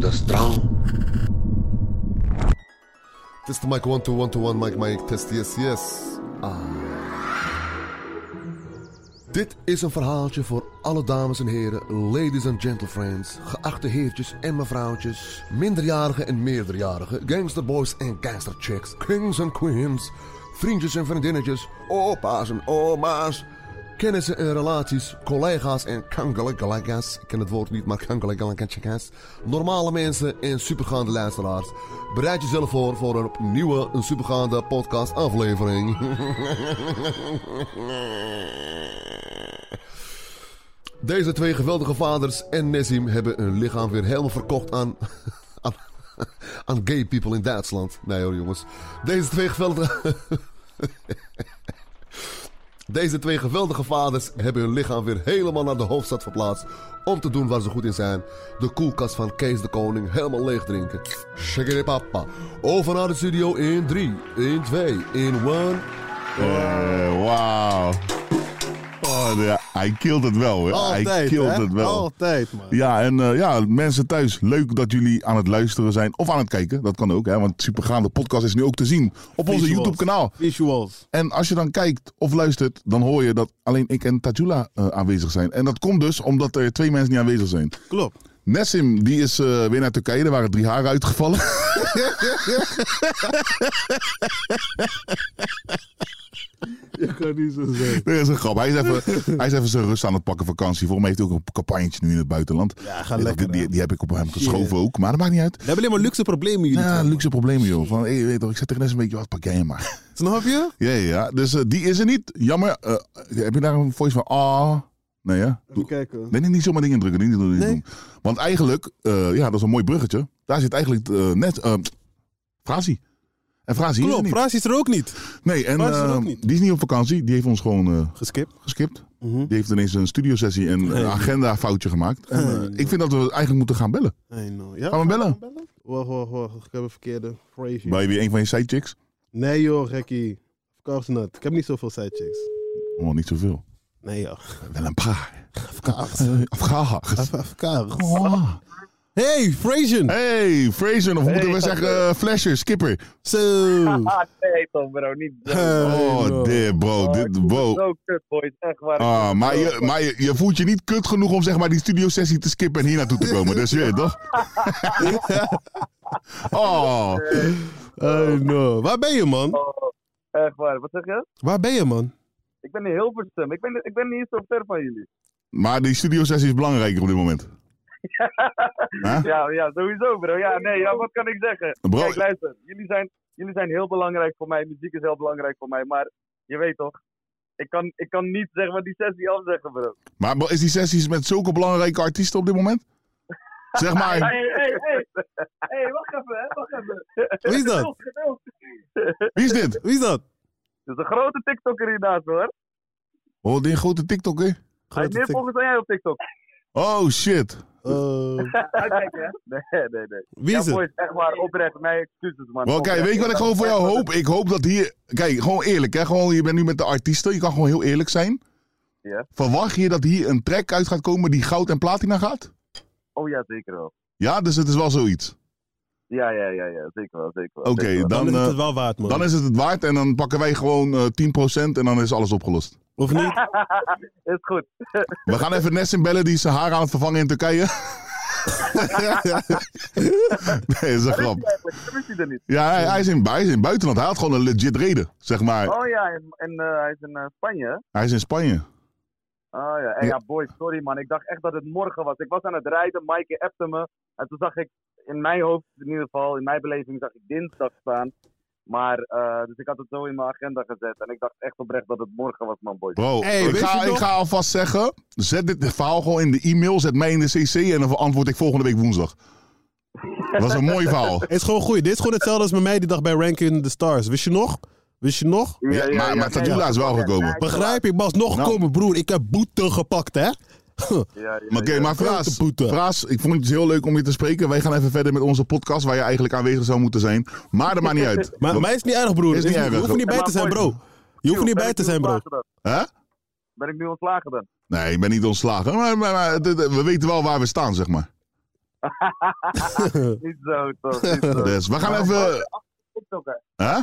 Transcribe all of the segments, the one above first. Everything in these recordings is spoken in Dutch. Das Traum. Test the mic one two one two one mic mic test yes yes. Ah. Dit is een verhaaltje voor alle dames en heren, ladies and gentlefriends, geachte heertjes en mevrouwtjes, minderjarigen en meerderjarigen, gangsterboys en gangsterchicks, kings en queens, vriendjes en vriendinnetjes, opa's en oma's, kennissen en relaties, collega's en kangalagalagas. Ik ken het woord niet, maar kangalagalagas. Normale mensen en supergaande luisteraars. Bereid jezelf voor voor een nieuwe een supergaande podcast aflevering. Deze twee geweldige vaders en Nessim hebben hun lichaam weer helemaal verkocht aan... aan, aan gay people in Duitsland. Nee hoor jongens. Deze twee geweldige... Deze twee geweldige vaders hebben hun lichaam weer helemaal naar de hoofdstad verplaatst. Om te doen waar ze goed in zijn. De koelkast van Kees de Koning helemaal leeg drinken. Shake it papa. Over naar de studio in 3, in 2, in 1. Eh, Wauw. Oh, ja, hij killed het wel, hoor. hij Altijd, killed hè? het wel. Altijd, man. Ja, en eh, ja, mensen thuis, leuk dat jullie aan het luisteren zijn of aan het kijken. Dat kan ook, hè, want Supergaande Podcast is nu ook te zien op onze Visuals. YouTube-kanaal. Visuals. En als je dan kijkt of luistert, dan hoor je dat alleen ik en Tajula eh, aanwezig zijn. En dat komt dus omdat er twee mensen niet aanwezig zijn. Klopt. Nessim, die is eh, weer naar Turkije. Er waren drie haren uitgevallen. Je kan niet zo zeggen. Dat is een grap. Hij is, even, hij is even zijn rust aan het pakken vakantie. Voor mij heeft hij ook een campagnetje nu in het buitenland. Ja, ga Die- lekker, die, hè. die heb ik op hem geschoven ook. Maar dat maakt niet uit. We hebben alleen maar luxe problemen jullie. Ja, twee. luxe problemen joh. Van, hey, weet je toch, ik zet tegen Nessim een beetje, wat pak jij hem maar. Snap je? Ja, ja, ja. Dus eh, die is er niet. Jammer. Eh, heb je daar een voice van? Ah. Nee, ja. Even kijken. Nee, nee, niet zomaar dingen drukken. Niet, doen, niet Nee. doen. Want eigenlijk, eh, ja, dat is een mooi bruggetje. Daar zit eigenlijk eh, net eh Frazi. En Frazi is er Klopt, niet. Fraas is er ook niet. Nee, en Frazi is er eh, ook niet. die is niet op vakantie. Die heeft ons gewoon eh, Geskipt. geskipt. Die heeft ineens een studiosessie en een agenda foutje gemaakt. En, eh, ik vind dat we eigenlijk moeten gaan bellen. I know. Ja, Gaan we bellen? Oh, Wacht, wacht, wacht. Ik heb een verkeerde. Crazy. Bij weer een van je sidechicks? Nee joh, gekkie. Of course not. Ik heb niet zoveel sidechicks. Oh, niet zoveel. Nee joh. Wel een paar. Afgehaagd. Afgehaagd. Oh. Hey, Frasian. Hey, Fraser, of moeten we zeggen eh, Flasher, Skipper? Zo. Ah, nee toch bro, niet zo. Oh, Hey, bro. dit bro, dit wow. Zo kut boys, echt waar. Ah, maar je, maar je, je voelt je niet kut genoeg om zeg maar die studiosessie te skippen en hier naartoe te komen. Dus je weet toch? oh, I know. Waar ben je man? Oh, echt waar, wat zeg je? Waar ben je man? Ik ben in Hilversum, ik ben, ik ben niet eens zo ver van jullie. maar die studiosessie is belangrijker op dit moment. Huh? Ja, ja, sowieso bro. Ja, nee, ja, wat kan ik zeggen? Bro- Kijk, luister, jullie zijn, jullie zijn heel belangrijk voor mij, muziek is heel belangrijk voor mij, maar je weet toch, ik kan, ik kan niet zeg maar die sessie afzeggen bro. Maar bro, is die sessies met zulke belangrijke artiesten op dit moment? Zeg maar, hey, hey, hey, hey, wacht even, hè, wacht even. Wie is dat? wie is dit? Wie is dat? Het is een grote TikToker hiernaast hoor. Oh, die grote TikToker. Hij is meer volgens dan jij op TikTok. Oh shit. Eh, Nee, nee, nee. Wie is ja, het? boys, echt waar, oprecht. Mijn excuses, Wel, man. kijk, Oprecht. weet je wat ik gewoon voor jou hoop? Ik hoop dat hier. Kijk, gewoon eerlijk, hè? Gewoon, je bent nu met de artiesten, je kan gewoon heel eerlijk zijn. Ja. Verwacht je dat hier een track uit gaat komen die goud en platina gaat? Oh ja, zeker wel. Ja, dus het is wel zoiets. Ja, ja, ja, ja zeker wel, zeker wel. Oké, zeker wel. dan, Dan is eh, het wel waard man. dan is het het waard en dan pakken wij gewoon eh, 10% en dan is alles opgelost. Of niet? is goed. We gaan even Nessim bellen, die is zijn haar aan het vervangen in Turkije. nee, dat is een Waar is grap. hij eigenlijk? Ik wist hij er niet. Ja, hij, hij is in, hij is in het buitenland. Hij had gewoon een legit reden, zeg maar. Oh ja, en, en, eh, hij is in eh, Spanje. hè? Hij is in Spanje. Oh ja. En ja, boy, sorry man. Ik dacht echt dat het morgen was. Ik was aan het rijden, Maaike appte me. En toen zag ik, in mijn hoofd in ieder geval, in mijn beleving zag ik dinsdag staan. Maar, eh, dus ik had het zo in mijn agenda gezet. En ik dacht echt oprecht dat het morgen was, man, boy. Bro, Hey, ik, weet ga, je ik nog- ga alvast zeggen, zet dit verhaal gewoon in de e-mail, zet mij in de cc en dan antwoord ik volgende week woensdag. Dat was een mooi verhaal. Het is gewoon goed. Dit is gewoon hetzelfde als bij mij die dag bij Ranking the Stars. Wist je nog? Wist je nog? Ja, maar- maar Tadula nee, is wel ja, gekomen. ja, ik- Begrijp je? Bas, nog Nou. komen, broer. Ik heb boete gepakt, hè? Ja, ja, Maar Oké, ja. maar Grote Fraas, boete. Fraas, ik vond het dus heel leuk om je te spreken. Wij gaan even verder met onze podcast waar je eigenlijk aanwezig zou moeten zijn. Maar dat maakt niet uit. Maar mij is niet erg, broer. Is niet Je erg. hoeft er niet bij te zijn, bro. Je hoeft er niet Ben bij ik te nu zijn, bro. ontslagen dan? Hè? Ben ik nu ontslagen dan? Nee, ik ben niet ontslagen. Maar, maar, maar dit- we weten wel waar we staan, zeg maar. Niet zo, toch? Niet zo. Dus we gaan Maar- even... TikToker. Hè?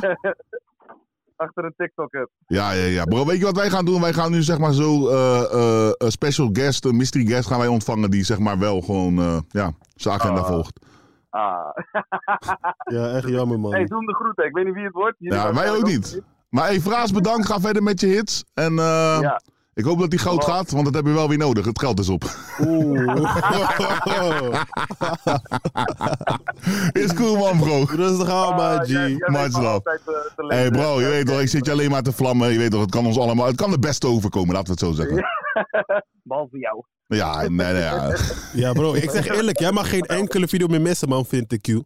Achter een TikToker. Ja, ja, ja. Bro, weet je wat wij gaan doen? Wij gaan nu zeg maar zo eh, eh, een special guest, een mystery guest gaan wij ontvangen die zeg maar wel gewoon eh, ja, zijn agenda volgt. Ah. Ja, echt jammer, man. Hey, doe hem de groeten. Ik weet niet wie het wordt. Jullie Ja, wij waarschijnlijk ook niet. Maar hey, Fraas, bedankt. Ga verder met je hits. En eh, Ja. ik hoop dat die goud gaat, want dat hebben we wel weer nodig. Het geld is op. nou? Oeh. is cool man, bro. Rustig aan, man, Ah, G. jij- jij weet much me love. altijd, eh, te Hé hey lezen. bro, je Ja, weet oké. toch, ik zit je alleen maar te vlammen. Je weet toch, het kan ons allemaal, het kan de beste overkomen, laten we het zo zeggen. Behalve jou. Ja, nee, nee, ja. Ja, bro. Ik zeg eerlijk, jij mag geen enkele video meer missen, man, vind ik, Q. ja,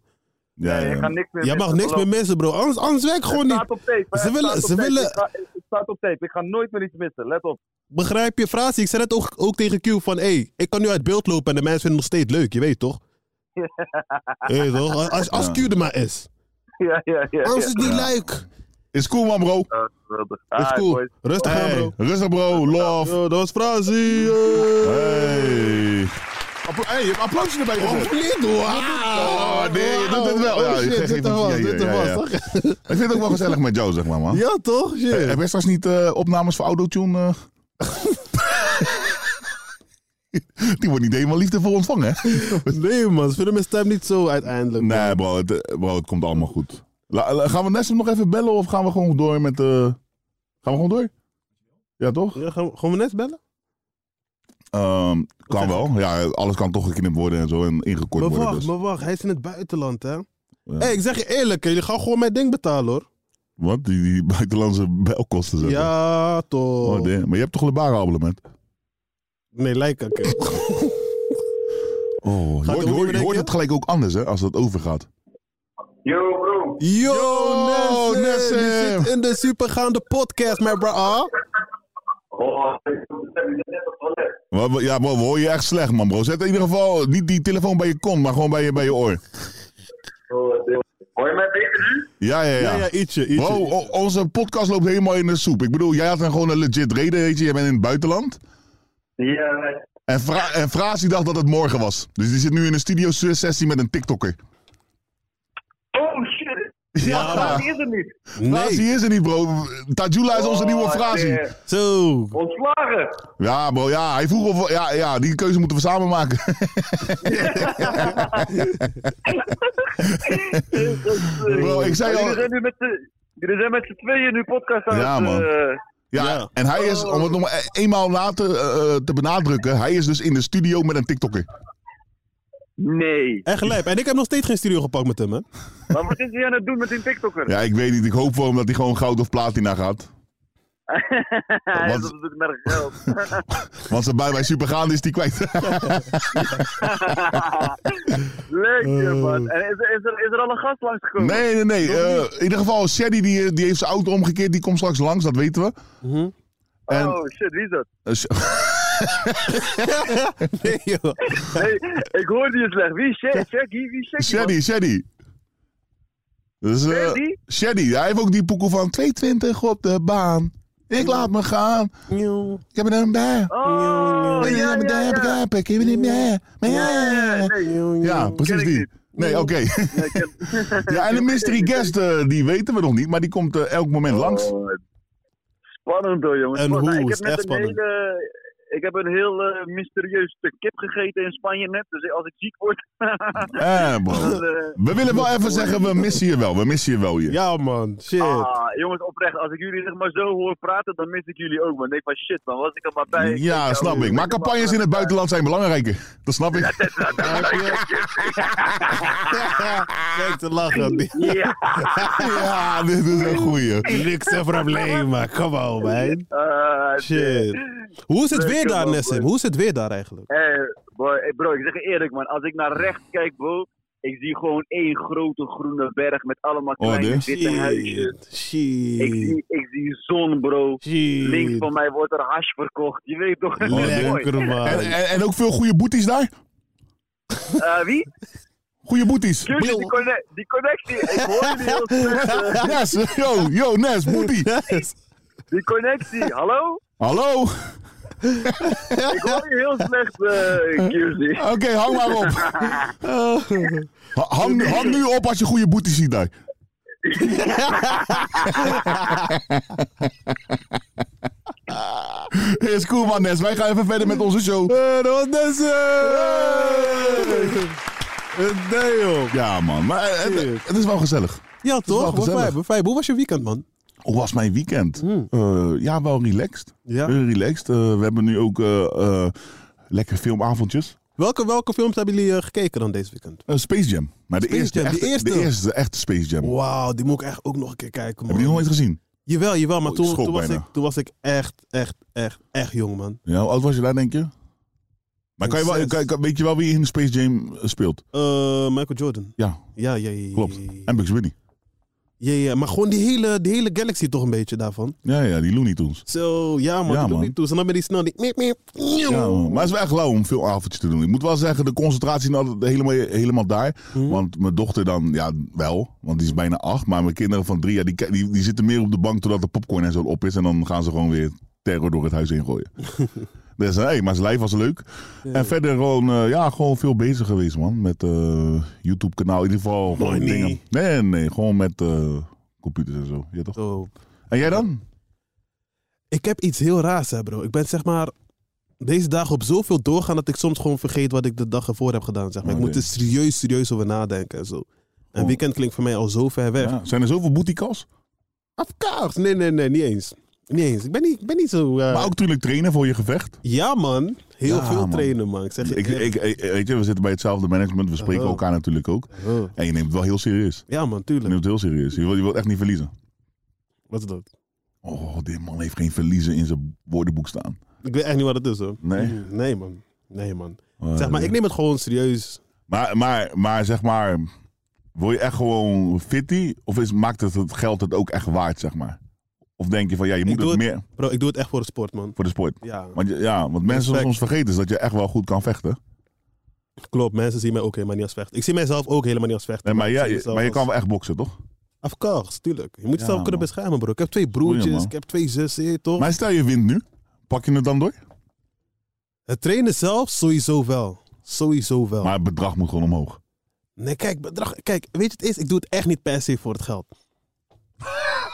Nee, ik ga ja. niks meer Jij mag niks meer missen. missen, bro. Anders, anders werk gewoon Het staat niet. op tape. hè. Ze Het willen- staat op ze tape. willen- Ik ga- Het staat op tape. Ik ga nooit meer iets missen. Let op. Begrijp je, Fraas? Ik zei net ook, ook tegen Q van, hey, ik kan nu uit beeld lopen en de mensen vinden het nog steeds leuk, je weet toch? Je weet toch? Als, als Q er maar is. Ja, ja, ja. Anders ja. is het niet leuk. Is cool man, bro. Ah, geweldig. Is Ah, cool. boys. Rustig aan, Hey, bro. rustig bro, love. Yo, dat was Frasie. eh. Hey. Appla- hey, je hebt applausje erbij gezet. Of niet? Wauw. Oh, nee, je doet het wel. Oh, Ja, je shit, geeft dit even- was, ja, dit ja, was, ja. toch? Ik vind het ook wel gezellig met jou, zeg maar, man. Ja, toch? Eh, Shit. Heb je straks niet eh, opnames voor Autotune? eh? Die wordt niet helemaal liefdevol ontvangen, hè? Nee, man. Ze vinden mijn stem niet zo uiteindelijk. Nee, bro, het, eh, bro, het komt allemaal goed. La- la- gaan we Nessim nog even bellen of gaan we gewoon door met... eh, Gaan we gewoon door? Ja, toch? Ja, gaan, we, gaan we net bellen? Ehm, zeg kan wel. Ja, alles kan toch geknipt worden en zo en ingekort Maar worden. wacht, Dus. maar wacht. Hij is in het buitenland, hè? hey, ik zeg je eerlijk, hè, jullie gaan gewoon mijn ding betalen, hoor. Wat? Die, die buitenlandse belkosten zo. Ja, toch. Oh, damn. maar je hebt toch een barenabonnement? nee, lijken. oké. Oh, je Gaat hoort, je hoort- die ook niet je hoort bedenken? het gelijk ook anders, hè, als dat overgaat. Yo, bro. Yo, Yo, Nessim, Nessim. Je zit in de supergaande podcast, mijn bro. ah. Oh, ik ben net op toilet. Wat- wat- Ja, bro, we hoor je echt slecht, man, bro. Zet in ieder geval niet die telefoon bij je kont, maar gewoon bij je, bij je oor. Hoor je mij beter nu? Ja, ja, ja. Ja, ja, ietsje, ietsje. Bro, o- onze podcast loopt helemaal in de soep. Ik bedoel, jij had een gewoon een legit reden, weet je. Jij bent in het buitenland. Ja, En, Fra en Fraas die dacht dat het morgen was. Dus die zit nu in een studio-sessie met een TikToker. Oh shit, Ja, dat Ah, is het niet. Fraas, die Nee. is er niet, bro. Tajula is onze nieuwe Oh, Frasie. shit. Zo. Ontslagen. Ja, bro, ja. Hij vroeg of... Ja, ja, die keuze moeten we samen maken. Bro, ik zei Jullie al... zijn nu met de. Jullie zijn met z'n tweeën nu podcast aan Ja, het... man. eh, Ja, Ja. en hij is, om het nog maar e- eenmaal later eh, eh, te benadrukken... Hij is dus in de studio met een TikToker. nee. Echt lijp. En ik heb nog steeds geen studio gepakt met hem, hè? Maar wat is hij aan het doen met die TikToker? Ja, ik weet niet. Ik hoop voor hem dat hij gewoon goud of platina gaat. hij wat- is op zoek naar geld. Want ze bij mij supergaande is die kwijt. Leuk, je man. En is, er- is, er, is er al een gast langsgekomen? Nee, nee, nee. eh, in ieder geval, Shady die, eh, die heeft zijn auto omgekeerd. Die komt straks langs, dat weten we. En, Oh shit, wie is dat? eh, Sh- Nee, joh. Hey, ik hoorde je slecht. Wie is Shaggy? Shaggy? Wie is Shaggy? man? Shady, Shady. Dus, eh, Shady? Shady, hij heeft ook die poekel van 220 op de baan. Ik laat me gaan. Ik heb er een bij. Oh, Ik heb er ja, ja, ja. een bij. Ik heb er een bij. Maar Ja, ja. nee. Ja, precies ik die. niet. Nee, oké. Nee, ik ken- Ja, en de mystery guest, eh, die weten we nog niet, maar die komt eh, elk moment langs. Oh, Spannend hoor, jongens. En Spannend. hoe? Ik Is heb net echt een spannend. hele... ik heb een heel eh, mysterieus stuk kip gegeten in Spanje net. Dus als ik ziek word. Eh, bro. dan, eh, We willen wel even zeggen, we missen je wel. We missen je wel hier. Ja, man. Shit. Ah, jongens, oprecht, als ik jullie zeg maar zo hoor praten, dan mis ik jullie ook. Man, ik denk van shit, man, was ik er maar bij. Ik denk, Ja, nou, snap ik. Maar campagnes in het buitenland zijn belangrijker. Dat snap ik. Heb je- Kijk te lachen. Ja, Ja, dit is een goeie. Niks een probleem, maar Come on, man. eh, Shit. Hoe is het weer daar, man, Nessim? man. Hoe is het weer daar eigenlijk? Hey, boy, hey, bro, ik zeg je eerlijk, man. Als ik naar rechts kijk, bro, ik zie gewoon één grote groene berg met allemaal Oh, kleine dit? witte huisjes. Shit. Ik Shit. zie, ik zie zon, bro. Shit. Links van mij wordt er hash verkocht. Je weet toch? dat is mooi. Oh, Lekker, En, man. en, en ook veel goede boeties daar? Eh, wie? Goede boeties. Jullie, die, conne- die connectie. Ik hoorde die heel slecht. eh, Nes, yo, yo, Nes, boetie. Yes. die connectie. Hallo? Hallo? Oké, Ik hoor je heel slecht, eh Kirsty. hang maar op. Ha- Hang, nu- hang nu op als je goede boeties ziet daar. Is cool man Nes, wij gaan even verder met onze show. Eh, dat was Nessim! Eh, Nee, joh. Ja man, maar eh, het, het is wel gezellig. Ja, wel toch? Wat gezellig. vijf, wat vijf. Hoe was je weekend, man? Hoe was mijn weekend? Eh, ja, wel relaxed. Hmm. Ja. Heel relaxed. Eh, we hebben nu ook eh, eh, lekker filmavondjes. Welke, welke films hebben jullie eh, gekeken dan deze weekend? Eh, Space Jam. Maar de Space eerste, Jam, die echte, eerste. De eerste, de echte Space Jam. Heb Wauw, die moet ik echt ook nog een keer kijken, je die nog man. nooit gezien? Jawel, jawel, maar Oh, ik toen, schrok toen, was ik, bijna. toen was ik echt, echt, echt, echt jong, man. Ja, hoe oud was je daar, denk je? Maar kan je wel, Zes. kan- kan- weet je wel wie in Space Jam eh, speelt? Eh, Michael Jordan. Ja, Ja, ja, ja. ja, klopt. ja, ja. En Bugs Bunny. Ja, ja, maar gewoon die hele, die hele galaxy toch een beetje daarvan. Ja, ja, die Looney Tunes. Zo, ja man, Ja, ja, doe man. niet toe. En dan ben die snel die... Miep, miep, miep. Ja, maar het is wel echt lauw om veel avondjes te doen. Ik moet wel zeggen, de concentratie is niet altijd helemaal, helemaal daar. Want mijn dochter dan, ja, wel. Want die is bijna acht. Maar mijn kinderen van drie jaar, die, ki- die, die zitten meer op de bank totdat de popcorn en zo op is. En dan gaan ze gewoon weer terror door het huis heen gooien. dus hé, maar zijn lijf was leuk. En verder gewoon, eh, ja, gewoon veel bezig geweest, man. Met eh, YouTube-kanaal, in ieder geval. Gewoon niet. dingen. Nee, nee, gewoon met eh, computers en zo. Ja, toch? Zo. En jij dan? Ik heb iets heel raars, hè, bro. Ik ben zeg maar deze dagen op zoveel doorgaan dat ik soms gewoon vergeet wat ik de dag ervoor heb gedaan. Zeg maar. Oké. Ik moet er serieus, serieus over nadenken en zo. En weekend klinkt voor mij al zo ver weg. Oh. Ja, zijn er zoveel booty-calls? Of course. Nee, nee, nee, niet eens. Niet eens. Ik ben niet, ik ben niet zo... eh, Maar ook natuurlijk trainen voor je gevecht. Ja, man. Heel Ja, veel man. trainen, man. Ik zeg je Ik, echt. ik, ik- weet je, we zitten bij hetzelfde management, we spreken Oh. elkaar natuurlijk ook. Oh. En je neemt het wel heel serieus. Ja, man, Je tuurlijk. neemt het heel serieus. Je wilt, je wilt echt niet verliezen. Wat is dat? Oh, dit man heeft geen verliezen in zijn woordenboek staan. Ik weet echt niet wat het is, hoor. Nee? Oh, Mm, Nee, man. Nee, man. Zeg maar, ik neem het gewoon serieus. Maar, maar, maar zeg maar, wil je echt gewoon fitty? Of is, maakt het het geld het ook echt waard, zeg maar? Of denk je van, ja, je moet doe het het- meer Bro, ik doe het echt voor de sport, man. voor de sport? Ja, Want je- ja, wat mensen Respect. soms vergeten is dat je echt wel goed kan vechten. klopt. Mensen zien mij ook helemaal niet als vechter. Ik zie mijzelf ook helemaal niet als vechter. Nee, maar, ik zie ja, je- mezelf maar je als- kan wel echt boksen, toch? Of course, tuurlijk. Je moet jezelf man. kunnen beschermen, bro. Ik heb twee Goeie, broertjes, man. ik heb twee zussen, eh, toch? Maar stel je wint nu, pak je het dan door? Het trainen zelf, sowieso wel. Sowieso wel. Maar het bedrag moet gewoon omhoog. Nee, kijk, bedrag, kijk, weet je het is? Ik doe het echt niet per se voor het geld.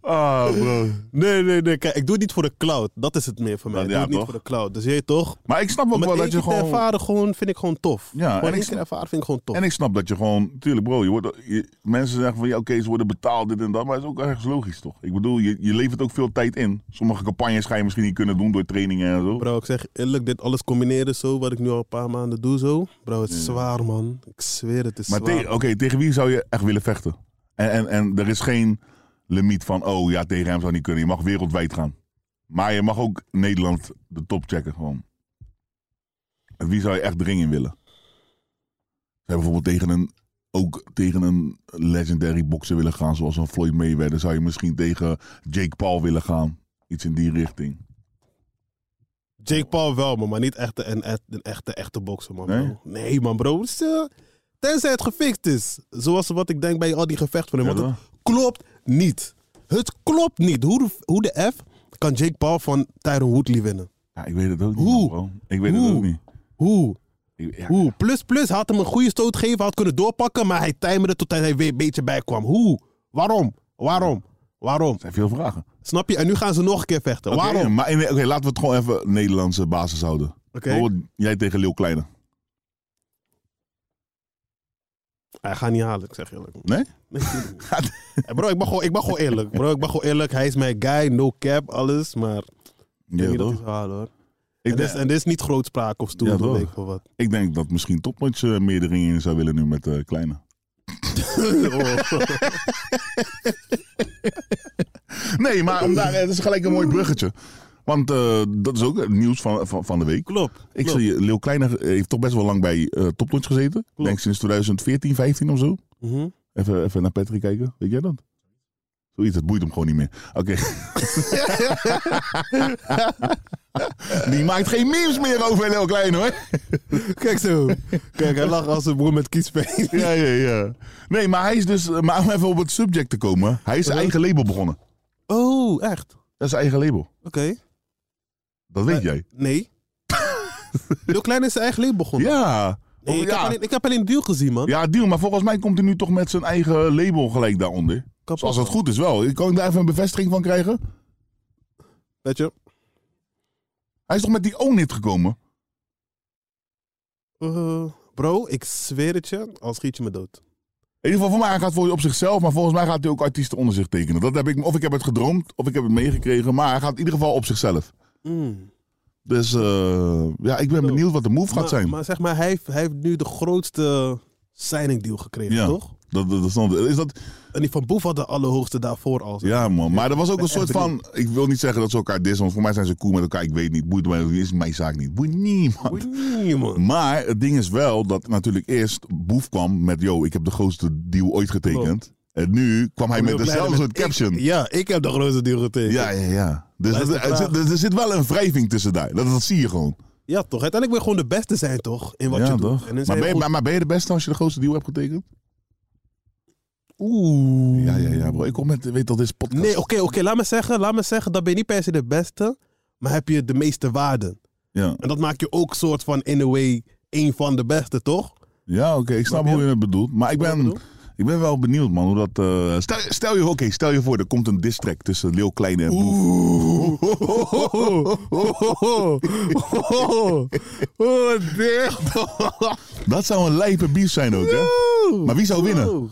Ah, bro. Nee, nee, nee. Kijk, ik doe het niet voor de cloud. Dat is het meer voor Ja, mij. ik doe het niet toch? voor de cloud. Dus je weet toch? Maar ik snap ook Om het wel één dat je keer te gewoon... ervaren gewoon, vind ik gewoon tof. Ja, en gewoon ik één keer snap- ervaren vind ik gewoon tof. En ik snap dat je gewoon, tuurlijk bro, je wordt, je- mensen zeggen van ja oké, ze worden betaald, dit en dat, maar het is ook ergens logisch toch? Ik bedoel, je, je levert ook veel tijd in. Sommige campagnes ga je misschien niet kunnen doen door trainingen en zo. Bro, ik zeg eerlijk, dit alles combineren zo, wat ik nu al een paar maanden doe zo. Bro, het is zwaar, man. Ik zweer, het is Maar zwaar. tegen- oké, tegen wie zou je echt willen vechten? En, en, en er is geen limiet van, oh ja, tegen hem zou niet kunnen. Je mag wereldwijd gaan. Maar je mag ook Nederland de top checken gewoon. En wie zou je echt de ring in willen? Zou je bijvoorbeeld tegen een, ook tegen een legendary boxer willen gaan, zoals een Floyd Mayweather? Zou je misschien tegen Jake Paul willen gaan? Iets in die richting. Jake Paul wel, man, maar niet echt een, een, een echte, echte bokser, man. Nee? bro. nee man, bro. Het is, eh, tenzij het gefixt is. Zoals wat ik denk bij al die gevechten van hem. Ja, want het klopt niet. Het klopt niet. Hoe de, hoe de F kan Jake Paul van Tyron Woodley winnen? Ja, ik weet het ook niet. man, Hoe? bro. Ik weet Hoe? het ook niet. Hoe? Ik- ja, Hoe? Plus, plus, hij had hem een goede stoot gegeven, hij had kunnen doorpakken, maar hij timerde tot hij er weer een beetje bij kwam. Hoe? Waarom? Waarom? Waarom? Dat zijn veel vragen. Snap je? En nu gaan ze nog een keer vechten. Oké, Waarom? Maar in- oké, laten we het gewoon even Nederlandse basis houden. Oké. Bijvoorbeeld jij tegen Leeuw Kleine. Hij gaat niet halen, ik zeg eerlijk. Nee? Nee, tuurlijk niet. Eh, bro, ik ben, gewoon, ik ben gewoon eerlijk. Bro, ik ben gewoon eerlijk. Hij is mijn guy, no cap, alles. Maar ik denk Ja, niet dat toch? hij zou halen, hoor. Ik, en, dit is, denk- en dit is niet grootspraak of stoer, Ja, of toch? weet ik veel wat. ik denk dat misschien topmatch eh, meerdering in zou willen nu met eh, Kleine. Nee, maar om daar, het is gelijk een mooi bruggetje. Want eh, dat is ook het nieuws van, van, van de week. Klopt. Ik klopt. zie, Leeuw Kleine heeft toch best wel lang bij eh Topnotch gezeten. Ik denk sinds 2014, 15 of zo. Mhm. Even, even naar Patrick kijken. Weet jij dat? Zoiets, dat boeit hem gewoon niet meer. Oké. Die maakt geen memes meer over Leeuw Kleine hoor. Kijk zo. Kijk, hij lacht als een broer met kiespijn. Ja, ja, ja. Nee, maar hij is dus, maar om even op het subject te komen. Hij is zijn eigen label begonnen. Oh, echt? Oké. Dat is zijn eigen label. Dat weet jij. Nee. Lil Klein is zijn eigen leven begonnen. Ja. Oh, Nee, ik, ja. heb alleen, ik heb alleen een deal gezien, man. Ja, deal. Maar volgens mij komt hij nu toch met zijn eigen label gelijk daaronder. Kapot, Als dat man. goed is wel. Kan ik daar even een bevestiging van krijgen? Weet je? Hij is toch met die Own It gekomen? Eh, bro, ik zweer het je, al schiet je me dood. In ieder geval, voor mij hij gaat voor op zichzelf, maar volgens mij gaat hij ook artiesten onder zich tekenen. Dat heb ik, of ik heb het gedroomd, of ik heb het meegekregen, maar hij gaat in ieder geval op zichzelf. Mm. Dus eh, ja, ik ben benieuwd wat de move gaat maar, zijn. Maar zeg maar, hij heeft, hij heeft nu de grootste signing deal gekregen, ja, toch? Dat, dat, dat stond- is dat, En die van Boef had de allerhoogste daarvoor al. ja man, maar er was ook een ben soort echt van, ik wil niet zeggen dat ze elkaar dissen, want voor mij zijn ze cool met elkaar, ik weet niet, boeit mij, is mijn zaak niet. Boeit niemand. Oei, man. Maar het ding is wel dat natuurlijk eerst Boef kwam met, yo, ik heb de grootste deal ooit getekend. En nu kwam hij met Lil Kleine dezelfde soort caption. Ik- ja, ik heb de grootste deal getekend. Ja, Ja, ja, ja. Dus Maar is dat- de er, vraag- zit, er- er zit wel een wrijving tussen daar. Dat, dat zie je gewoon. toch? Uiteindelijk wil je gewoon de beste zijn, toch? In wat ja, je doet. toch? En dan Maar zijn ben, je, we maar, maar ben je de beste als je de grootste deal hebt getekend? goed- Oeh. Ja, ja, ja, bro. Ik kom met, weet dat dit is podcast. Mm. Nee, oh. oké, oké. laat me zeggen, laat me zeggen, dan ben je niet per se de beste, maar heb je de meeste waarden. Ja, En dat maakt je ook soort van, in a way, één van de beste, toch? ja oké. ik snap je? hoe je het bedoelt. Maar ik Wat ik ben, bedoel? ik ben wel benieuwd, man. Hoe dat, eh, stel, stel, je, oké, stel je voor, er komt een diss track tussen Leeuw Kleine en Boef. Oeh. Oh, Dat zou een lijpe beef zijn ook, hè? Maar wie zou winnen?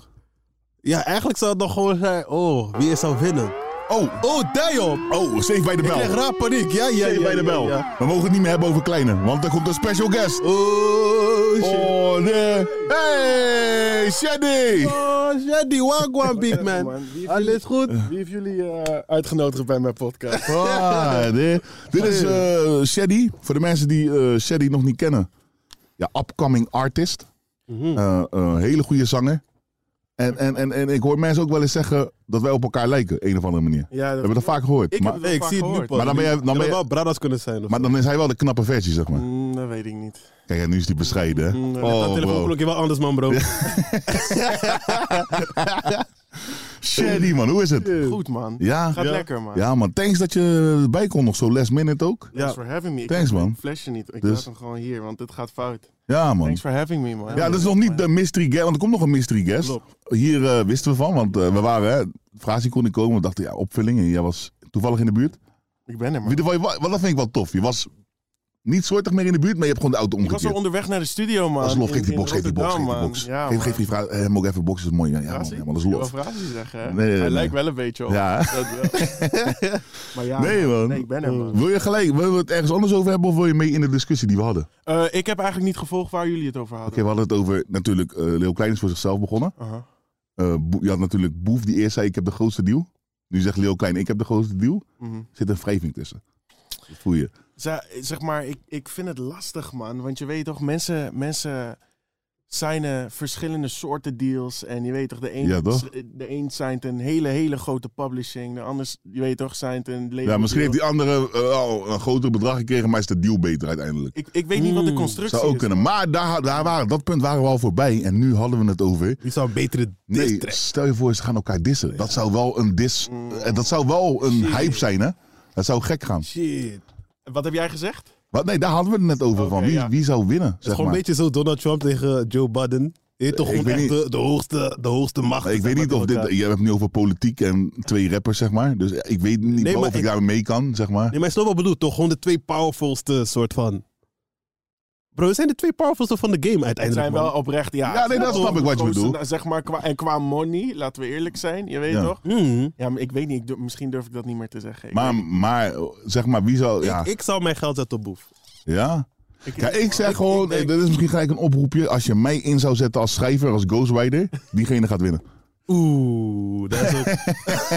Ja, eigenlijk zou het nog gewoon zijn, oh, wie zou winnen? Oh, Oh, damn! oh, safe bij de Ik bel. krijg raar paniek, ja, ja, Safe ja. bij de ja, bel. ja. We mogen het niet meer hebben over Kleine, want er komt een special guest. Oh, shit. Oh, nee. Hey, Shady. Oh, Shady, wagwan, big man. Alles goed? Wie heeft jullie eh, uitgenodigd bij mijn podcast? Ah, nee. Dit is eh Shady. Voor de mensen die eh Shady nog niet kennen. Ja, upcoming artist. Mhm. Eh, eh, hele goede zanger. En, en, en, en ik hoor mensen ook wel eens zeggen dat wij op elkaar lijken, een of andere manier. We Ja, dat- hebben dat vaak gehoord. Ik Maar, heb Nee, ik zie het nu pas. Maar dan ben je- dan Het ben je- wel bradas kunnen zijn. Of maar dan is hij wel de knappe versie, zeg maar. Mm, dat weet ik niet. Kijk, en nu is hij bescheiden, hè? Mm, dat Oh, bro. telefoonknopje wel anders, man, bro. Shady, man. Hoe is het? Goed, man. Ja? Gaat ja. lekker, man. Ja, man. Thanks dat je erbij kon nog zo last minute ook. Thanks for having me. Ik Thanks, man. flash je niet. Ik Dus- laat hem gewoon hier, want dit gaat fout. Ja, man. Thanks for having me, man. Ja, dat is nog niet de mystery guest, want er komt nog een mystery guest. Klopt. Hier eh, wisten we van, want eh, we waren, hè, Frasie kon niet komen. We dachten, ja, opvulling. En jij was toevallig in de buurt. Ik ben er, In man. ieder geval, je wa- wel, dat vind ik wel tof. Je was niet soortig meer in de buurt, maar je hebt gewoon de auto Ik was omgekeerd. al onderweg naar de studio, man. Dat is lof. In- Geef die in box, geef die box, geef die Rotterdam, box. man. Ja, geef, geef die vraag, eh, hem ook even box, dat is mooi. Ja, Ja, man, ja, man, dat is lof. Frasie zeggen, hè? Nee, nee, Hij nee. lijkt wel een beetje op. Ja. Dat wel. maar ja, Nee, man. Nee, ik ben er, man. Wil je gelijk, willen we het ergens anders over hebben of wil je mee in de discussie die we hadden? Oké, Eh, ik heb eigenlijk niet gevolgd waar jullie het over hadden. we hadden het over natuurlijk, eh Leo Klein is voor zichzelf begonnen. Aha. Eh, Bo- je had natuurlijk Boef die eerst zei, ik heb de grootste deal. Nu zegt Leo Klein, ik heb de grootste deal. Mhm. zit een wrijving tussen. Dat voel je. Ze- zeg maar, ik, ik vind het lastig, man. Want je weet toch, mensen, mensen signen verschillende soorten deals. En je weet toch, de een, Ja, toch? De een signed een hele, hele grote publishing. De ander, je weet toch, signed een label Ja, misschien heeft deal. die andere eh, al een groter bedrag gekregen, maar is de deal beter uiteindelijk. Ik, ik weet niet wat de constructie Hmm, Zou ook is. kunnen. Maar daar, daar waren, dat punt waren we al voorbij en nu hadden we het over. Die zou een betere Nee, diss track- Mm. stel je voor, ze gaan elkaar dissen. Dat zou wel een dis. eh, Dat zou wel een hype zijn, hè? Dat zou gek gaan. Shit. Wat heb jij gezegd? Maar nee, daar hadden we het net over. van Oké, wie, ja. wie zou winnen? Het is Zeg gewoon maar. een beetje zo Donald Trump tegen Joe Biden. Je weet toch Ik gewoon weet echt niet. de, de hoogste, de hoogste macht. Ik weet niet of dit... Je hebt het nu over politiek en twee rappers, zeg maar. Dus ik weet niet Nee, wel maar of ik, ik- daar mee kan, zeg maar. Nee, maar je snapt wat ik bedoel, toch? Gewoon de twee powerfulste soort van... Bro, we zijn de twee powerfulste van de game Het uiteindelijk, zijn wel man. oprecht, ja. Ja, nee, dat het zijn snap wel ik wat je gekozen, bedoelt. Zeg maar, qua, en qua money, laten we eerlijk zijn, je weet Ja. Hmm. toch? Mhm. Ja, maar ik weet niet, ik durf- misschien durf ik dat niet meer te zeggen. Ik Maar, maar zeg maar, wie zou... Ja, Ik, ik zou mijn geld zetten op Boef. ja? weet- ja ik zeg gewoon... denk- Dit is misschien gelijk een oproepje. Als je mij in zou zetten als schrijver, als ghostwriter... Diegene gaat winnen. Oeh, dat is ook,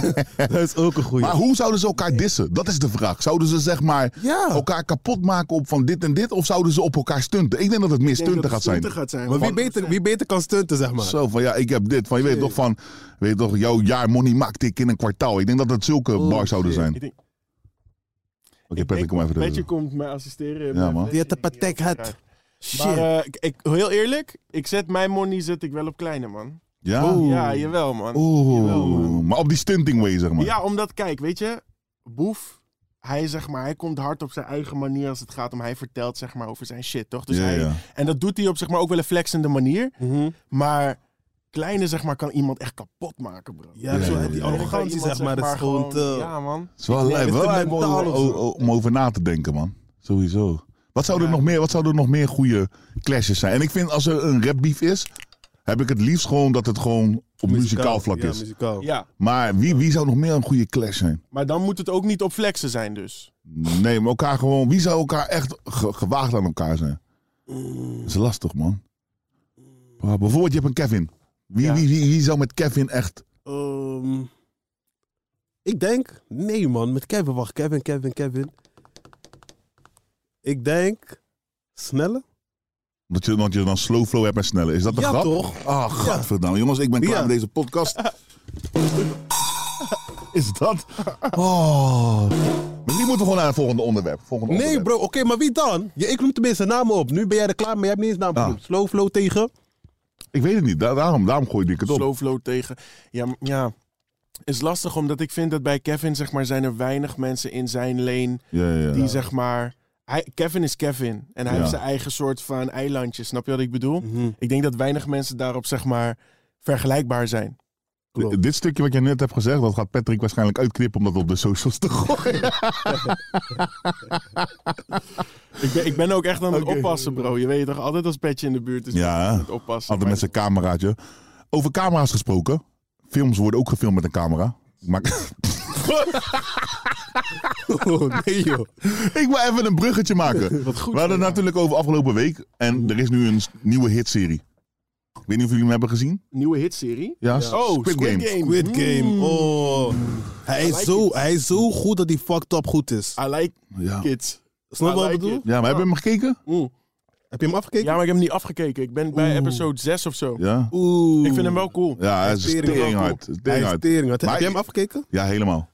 dat is ook een goeie. Maar hoe zouden ze elkaar dissen? Dat is de vraag. Zouden ze zeg maar Ja. elkaar kapot maken op van dit en dit? Of zouden ze op elkaar stunten? Ik denk dat het meer Ik denk stunten dat gaat het zijn. stunten gaat zijn. Maar wie want- beter, wie beter kan stunten, zeg maar. Zo van ja, ik heb dit. Van je weet toch van, weet je toch, jouw jaar money maakte ik in een kwartaal. Ik denk dat dat zulke bars zouden zijn. Ik Oké, denk, Patrick, kom even Weet je, terug. komt mij assisteren. Ja, man. Die had de patek had. Shit. Maar eh, ik, ik- heel eerlijk, ik zet mijn money zet ik wel op kleine, man. Ja? Oeh. Oh. Ja, jawel, man. Jawel, Oeh. man. Maar op die stunting way zeg maar. Ja, omdat, kijk, weet je, Boef, hij, zeg maar, hij komt hard op zijn eigen manier als het gaat om, hij vertelt zeg maar over zijn shit, toch? Dus Ja, hij, ja. En dat doet hij op zeg maar ook wel een flexende manier. Mhm. Maar kleine, zeg maar, kan iemand echt kapot maken, bro. Ja, Ja, zo, ja, die ja. arrogantie, Iemand, zeg maar, dat is gewoon te- Ja, man. Het is wel, lijp, het is wel te lijp om, mentaal of o- zo. o- om over na te denken, man. Sowieso. Wat zou, er nog meer, wat zou er nog meer goede clashes zijn? En ik vind als er een rapbeef is, heb ik het liefst gewoon dat het gewoon op muzikaal vlak ja, is. muzikaal. Ja, Maar wie, wie zou nog meer een goede clash zijn? maar dan moet het ook niet op flexen zijn, dus. Nee, maar elkaar gewoon. Wie zou elkaar echt ge- gewaagd aan elkaar zijn? Dat is lastig, man. Maar bijvoorbeeld, je hebt een Kevin. Wie, Ja. wie, wie, wie zou met Kevin echt. Ehm, ik denk, nee man, met Kevin. Wacht, Kevin, Kevin, Kevin. Ik denk, snelle? Omdat je, omdat je dan slow flow hebt en sneller. Is dat een Ja, grap? toch? Ah, gadverdamme. Jongens, ik ben klaar Ja. met deze podcast. Is dat? Oh. Misschien moeten we gewoon naar het volgende onderwerp. Volgende Nee onderwerp. bro, oké, maar wie dan? Ja, ik noem tenminste namen op. Nu ben jij er klaar, maar jij hebt niet eens naam Ah. genoemd. Slow flow tegen. Ik weet het niet. Da- daarom, daarom gooi ik het op. Slow flow tegen. Ja, m- ja. Is lastig omdat ik vind dat bij Kevin, zeg maar, zijn er weinig mensen in zijn lane Ja, ja, ja. die, zeg maar. Hij, Kevin is Kevin. En hij Ja. heeft zijn eigen soort van eilandje. Snap je wat ik bedoel? Mhm. Ik denk dat weinig mensen daarop, zeg maar, vergelijkbaar zijn. D- Dit stukje wat je net hebt gezegd, dat gaat Patrick waarschijnlijk uitknippen om dat op de socials te gooien. Ik ben, ik ben ook echt aan het Oké. oppassen, bro. Je weet toch, altijd als petje in de buurt is Ja, ben ik hè? aan het oppassen. Altijd met Maar- zijn cameraatje. Over camera's gesproken. Films worden ook gefilmd met een camera. Ik maak, Oh, nee joh. ik wil even een bruggetje maken. We hadden het natuurlijk over afgelopen week. En er is nu een s- nieuwe hitserie. Ik weet niet of jullie hem hebben gezien. Nieuwe hitserie? Ja, Oh, Squid, Game. Squid Game, Mm. oh. Hij is, like zo, hij is zo goed dat hij fucked up goed is. I like Ja. kids. Snap je I wat ik like bedoel? it. Ja, maar hebben we hem gekeken? Oeh. Heb je hem afgekeken? Ja, maar ik heb hem niet afgekeken. Ik ben bij episode 6 of zo. Ja. Oeh. Ik vind hem wel cool. Ja, hij is Tering, teringhard. Hij is Teringhard. teringhard. Heb Maar- je hem afgekeken? Ja, helemaal.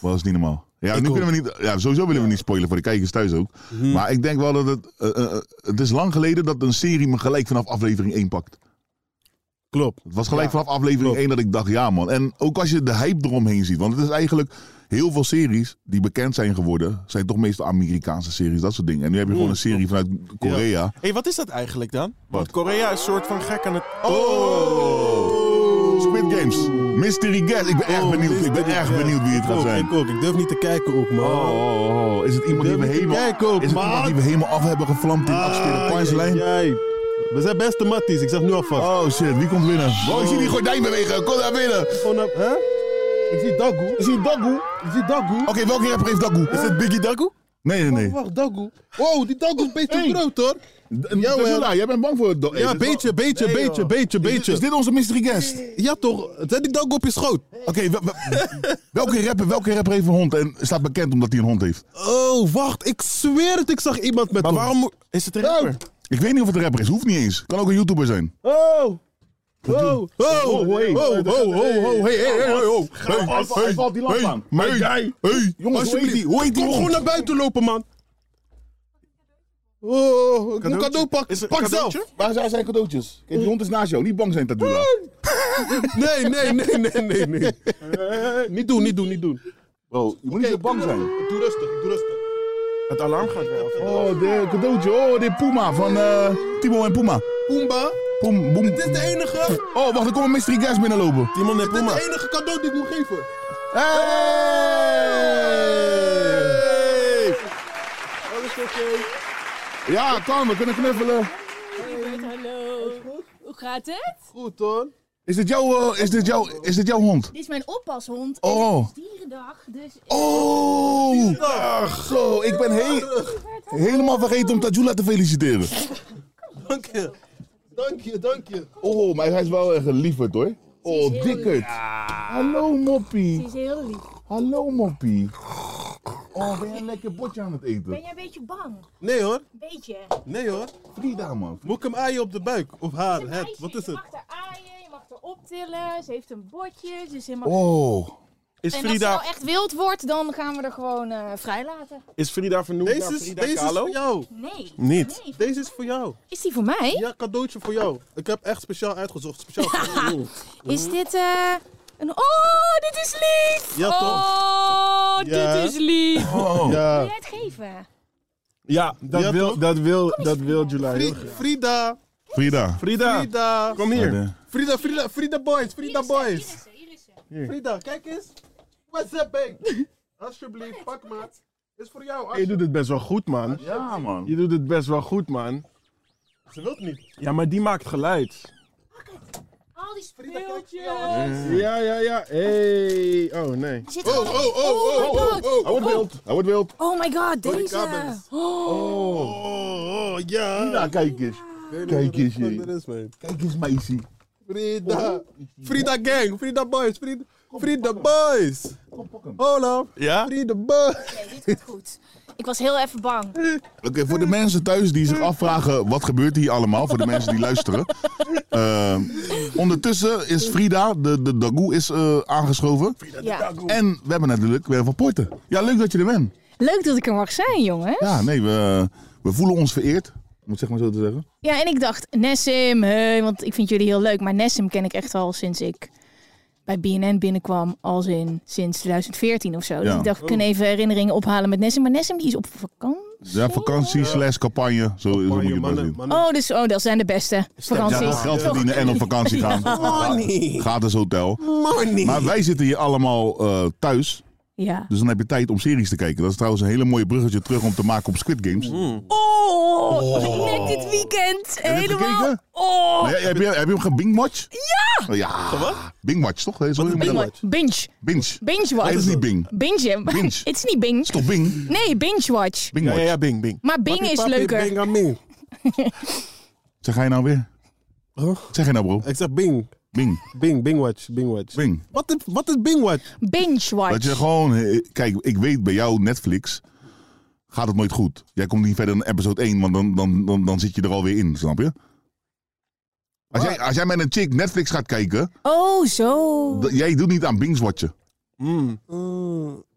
Dat is niet normaal. Ja, nu ook. kunnen we niet, ja, sowieso willen we niet spoilen voor de kijkers thuis ook. Mhm. Maar ik denk wel dat het... eh, eh, eh, het is lang geleden dat een serie me gelijk vanaf aflevering 1 pakt. Klopt. Het was gelijk vanaf aflevering 1 dat ik dacht, ja man. En ook als je de hype eromheen ziet. Want het is eigenlijk heel veel series die bekend zijn geworden... zijn toch meestal Amerikaanse series, dat soort dingen. En nu heb je gewoon een serie vanuit Korea. Hé, hey, wat is dat eigenlijk dan? Want Wat? Korea is soort van gek aan het... Oh! Squid Games. Mystery Guest. Ik ben erg benieuwd. Ik ben erg benieuwd wie het gaat ook, zijn. Oh, Ik ook. Ik durf niet te kijken ook, man. Oh, oh, oh. Is het iemand die we Durf niet te helemaal, kijken ook, is het iemand man. die we helemaal af hebben gevlamd in afspelen punchline? Jij. We zijn beste matties. Ik zeg nu alvast. Oh shit, wie komt winnen? Oh, ik zie die gordijn bewegen. Kom daar binnen. Oké, Gewoon op, hè? Ik zie Dagu. Ik zie Dagu. Ik zie Dagu. welke rapper heeft Dagoe? Is het Biggie Dagoe? Nee, nee, nee. Oh, wacht, Dagu. Wow, die Dagu is een beetje groot, hoor. Ja, Ja, hoor. jij bent bang voor het do- Ja, beetje, beetje, beetje, beetje, beetje. Is dit onze mystery guest? Ja, toch? Zet die Dagu op je schoot. Oké, we- we- welke, rapper, welke rapper heeft een hond en staat bekend omdat hij een hond heeft? Oh, wacht. Ik zweer het. Ik zag iemand met Oh. hem. Maar waarom moet- is het een rapper? Ik weet niet of het een rapper is, hoeft niet eens. Kan ook een YouTuber zijn. Oh. Oh, oh, oh, hey. oh, oh, oh, hey, hey, hey, oh. Hey, hey, hey, Maar hey, jij, hey, jongens, hoe heet alsjeblieft, die- hoe heet die kom gewoon hond? naar buiten lopen, man. Oh, ik moet een cadeau Is pakken. er een Pak zelf. cadeautje? Waar zijn zijn cadeautjes? Kijk, die hond is naast jou. Niet bang zijn, Tadula. Nee, nee, nee, nee, nee, nee. Niet doen, niet doen, niet doen. Bro, je moet niet zo bang zijn. Doe rustig, doe rustig. Het alarm gaat weer af. Oh, de cadeautje. Oh, dit Puma van eh, Timo en Puma. Pumba, Boem, boem. Dit is de enige, Oh, wacht, er komt een mystery guest binnenlopen. Timon en dit is Puma. de enige cadeau die ik moet geven. Hey! Ja, kan, we kunnen knuffelen. Lieverd, hallo. Hoe gaat het? Goed hoor. Is dit, jouw, eh, is, dit jouw, is dit jouw hond? Dit is mijn oppashond. Oh. En het is dierendag, dus... Oh! Ach, zo, ik ben he- helemaal vergeten om Tajula te feliciteren. Dank je. Dank je, dank je. Oh, maar hij is wel echt een lieverd hoor. Ze Oh, is heel dikkerd. Hallo Ze Moppie. is heel lief. Hallo Moppie. Oh, ben jij een lekker botje aan het Ben eten? jij een beetje bang? Nee hoor, Een beetje. nee hoor. Frida man. Moet ik hem aaien op de buik? Of haar, het, wat is Je het? mag haar aaien, je mag haar optillen. Ze heeft een botje, dus ze mag... Oh. Is En als ze nou Frida, echt wild wordt, dan gaan we er gewoon eh, vrij laten. is Frida vernoemd naar Deze is, Frida deze is Kahlo? voor jou. Nee. Niet. Nee. Deze is voor jou. Is die voor mij? Ja, cadeautje voor jou. Ik heb echt speciaal uitgezocht. Speciaal voor jou. Is dit eh, een... Oh, dit is lief! Ja, toch? Oh, Ja. dit is lief! Wil Ja, jij het geven? ja, dat, Ja, wil, toch? dat wil, dat wil July. heel graag. Fri- Frida, Frida. Frida, Frida. kom hier. Frida, Frida, Frida boys, Frida boys. Hier is ze, hier is ze. Frida, kijk eens. What's up, babe? Alsjeblieft, pak maar. Is voor jou. Je doet het best wel goed, man. Ja man. Je doet het best wel goed, man. Ze wilt niet. Ja, maar die maakt geluid. Al die speeltjes. Ja, ja, ja. Hey. Oh, nee. Zit Oh, er- oh, oh, oh, oh, my God. oh. Hij wordt wild. Hij wordt wild. Oh my god, die deze. kabels. Oh, Oh, oh, ja. Frida, kijk eens. Kijk eens, oh, je. Kijk eens, meisje. Frida. Frida gang, Frida boys, Frida, Frida boys. Kom, pak hem. Olaf, Ja? Frida boys. nee, dit gaat goed. Ik was heel even bang. Oké, voor de mensen thuis die zich afvragen wat gebeurt hier allemaal, voor de mensen die luisteren. Eh, ondertussen is Frida, de, de Dagoe, is eh, aangeschoven. Ja. En we hebben natuurlijk weer van Poorten. Ja, leuk dat je er bent. Leuk dat ik er mag zijn, jongen. Ja, nee, we, we voelen ons vereerd. Om het zeg maar zo te zeggen. Ja, en ik dacht, Nessim, hey, want ik vind jullie heel leuk. Maar Nessim ken ik echt al sinds ik bij BNN binnenkwam. Als in sinds 2014 of zo. Dus Ja. ik dacht, ik kan even herinneringen ophalen met Nessim. Maar Nessim die is op vakantie. Ja, vakantie slash campagne. Zo, zo moet je Mannen, het wel zien. mannen, mannen. Oh, dus oh, dat zijn de beste. Ja, Vakanties. dat Oh, geld verdienen en op vakantie gaan. Gaat als hotel. Money. Maar wij zitten hier allemaal eh, thuis. Ja. Dus dan heb je tijd om series te kijken. Dat is trouwens een hele mooie bruggetje terug om te maken op Squid Games. Oh, ik net dit weekend. je het Helemaal. gekeken? Oh. Maar ja, heb, je, heb je hem gebingwatch? Ja! Ja. Bingwatch, toch? Zo heet het. Binge. Binge. Binge Nee, watch. dat is niet Bing. Binge. hè? Binge. Het is niet Bing. Toch Bing? Nee, binge watch. Ja, Bingwatch. ja, ja, bing, bing. Maar Bing is leuker. Bing aan Bing. Zeg jij nou weer? Zeg jij nou bro? Ik zeg Bing. Bing. Bing, Bingwatch, Bingwatch. Bing. Wat is, wat is Bingwatch? Binge watch. Dat je gewoon... eh, Kijk, ik weet bij jou Netflix gaat het nooit goed. Jij komt niet verder dan episode 1, want dan, dan, dan, dan zit je er alweer in, snap je? Als jij, als jij met een chick Netflix gaat kijken, Oh, zo. d- jij doet niet aan bingswatchen. Mm,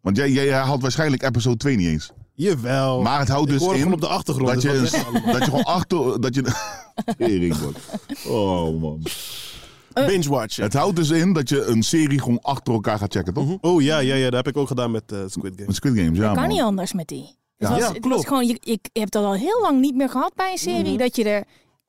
Want jij, jij haalt waarschijnlijk episode 2 niet eens. jawel. Maar het houdt ik dus hoor in gewoon op de achtergrond. dat je, dus wat een- zeg- dat je gewoon achter... Dat je, Tering, man. Oh man. Binge-watchen. Het houdt dus in dat je een serie gewoon achter elkaar gaat checken, toch? Oh ja, ja, ja, dat heb ik ook gedaan met eh, Squid Game. Met Squid Games, ja. Kan man. niet anders met die. Dus Het Ja, was, het was klopt. gewoon, je, ik heb dat al heel lang niet meer gehad bij een serie. Dat je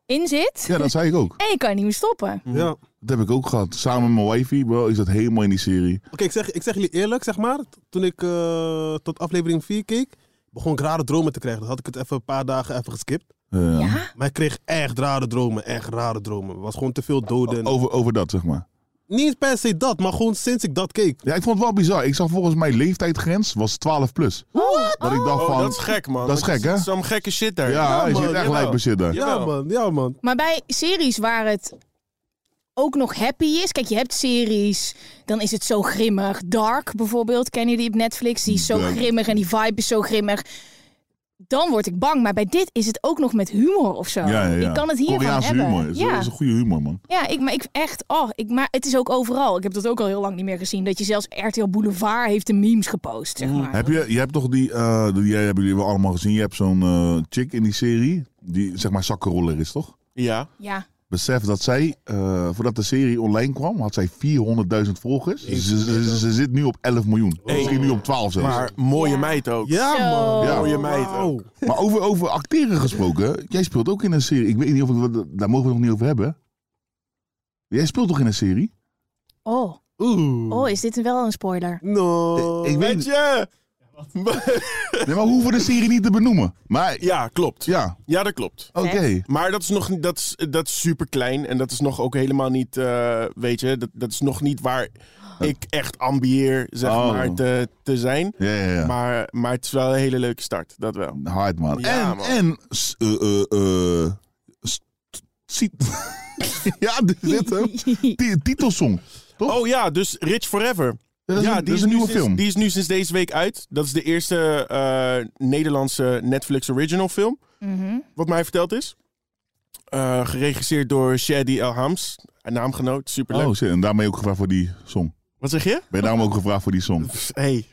erin zit. Mhm. Ja, dat zei ik ook. En je kan niet meer stoppen. Mm. Ja. Oké, Dat heb ik ook gehad. Samen met mijn wifi, bro, is dat helemaal in die serie. ik, zeg, ik zeg jullie eerlijk, zeg maar. t- Toen ik eh, tot aflevering 4 keek, begon ik rare dromen te krijgen. Dan had ik het even een paar dagen even geskipt. Eh, Ja? Maar ik kreeg echt rare dromen, echt rare dromen. Er was gewoon te veel doden. over, over dat, zeg maar. Niet eens per se dat, maar gewoon sinds ik dat keek. Ja, ik vond het wel bizar. Ik zag volgens mij leeftijdsgrens was 12 plus. Wat? Dat ik dacht Oh, van... dat is gek, man. Dat is gek, hè? Zo'n gekke shit daar. Ja, hij man, zit echt jawel. lijp bezit daar. Ja, Jawel. man, ja, man. Maar bij series waar het ook nog happy is. Kijk, je hebt series, dan is het zo grimmig. Dark bijvoorbeeld, kennen jullie op Netflix? Die is zo Dark. grimmig en die vibe is zo grimmig. Dan word ik bang. Maar bij dit is het ook nog met humor of zo. Ja, ja, ja. Ik kan het hiervan Koreaanse hebben. humor. Dat is, ja. dat is een goede humor, man. Ja, ik, maar ik echt, oh, ik, maar het is ook overal. Ik heb dat ook al heel lang niet meer gezien. Dat je zelfs RTL Boulevard heeft de memes gepost, Mm. zeg maar. Heb je, je hebt toch die... eh die hebben jullie wel allemaal gezien. Je hebt zo'n eh, chick in die serie. Die zeg maar zakkenroller is, toch? Ja. Ja. Besef dat zij, eh, voordat de serie online kwam, had zij 400.000 volgers. Ze, ze, ze- ze zit nu op 11 miljoen. Misschien nu op 12 zelfs. Maar mooie meid ook. Ja, man. Ja. Mooie meid ook. Maar over, over acteren gesproken, jij speelt ook in een serie. Ik weet niet of we, daar mogen we het nog niet over hebben. Jij speelt toch in een serie? Oh, Oeh. oh, is dit wel een spoiler? No. Ik- ik weet- weet je. Nee, maar we hoeven de serie niet te benoemen. Maar ja, klopt. Ja, ja, dat klopt. oké. Maar dat is nog niet- dat is, dat is super klein en dat is nog ook helemaal niet, eh, weet je, dat, dat is nog niet waar ik echt ambieer, zeg Oh. maar, te, te zijn. Ja, ja, ja. Maar, maar het is wel een hele leuke start, dat wel. Hard, man. Ja, en, man. en, s- eh, eh, eh, s- ziet. ja, dit is het, hè? Ti- Titelsong. Toch? Oh ja, dus Rich Forever. Dat is ja, een- dat is een nu nieuwe sinds- film. Die is nu sinds deze week uit. Dat is de eerste eh, Nederlandse Netflix original film. Wat mij verteld is. Eh, geregisseerd door Shadi El Hams. Een naamgenoot, superleuk. Oh, shit. En daarmee ook gevraagd voor die song. Wat zeg je? Ben je daarom ook gevraagd voor die song? Pff, Hey,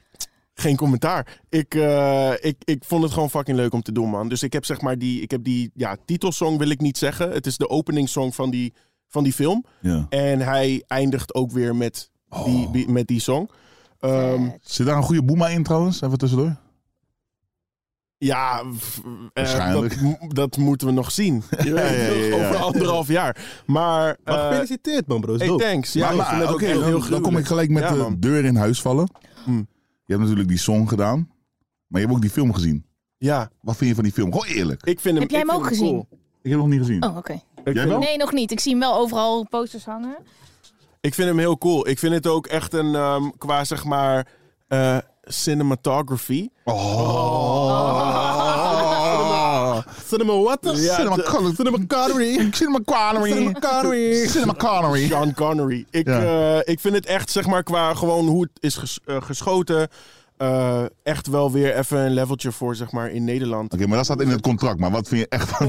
geen commentaar. Ik, eh, ik, ik vond het gewoon fucking leuk om te doen, man. Dus ik heb zeg maar die, ik heb die ja, titelsong wil ik niet zeggen. Het is de openingssong van die, van die film. Ja. En hij eindigt ook weer met die, Oh. die- met die song. Ehm, Zit daar een goede boema in trouwens? Even tussendoor. Ja, f- eh, Waarschijnlijk. dat, m- dat moeten we nog zien. Je weet ja, het, ja, ja. Over anderhalf jaar. Maar, Maar eh, gefeliciteerd, man, bro. Is hey, dope. thanks. Ja, Maar- ik maar, vind het ook oké, echt heel dan, dan kom ik gruwelijk. gelijk met Ja, de man. deur in huis vallen. Hm. Je hebt natuurlijk die song gedaan. Maar je hebt ook die film gezien. Ja, Wat vind je van die film? Gewoon eerlijk. ik vind hem, Heb jij ik hem vind ook cool. Ik heb hem nog niet gezien. Oh, oké. Ik Jij vind wel? Nee, nog niet. Ik zie hem wel overal posters hangen. Ik vind hem heel cool. Ik vind het ook echt een, ehm, qua zeg maar, eh, cinematography. Cinema what? Ja, Cinema de- Connery. Oh. Cinema Connery. Cinema Connery. Cinema Connery. Sean Connery. Ik, Ja. eh, ik vind het echt, zeg maar, qua gewoon hoe het is ges- eh, geschoten, eh, echt wel weer even een leveltje voor, zeg maar, in Nederland. Oké, maar dat staat in het contract. Maar wat vind je echt van...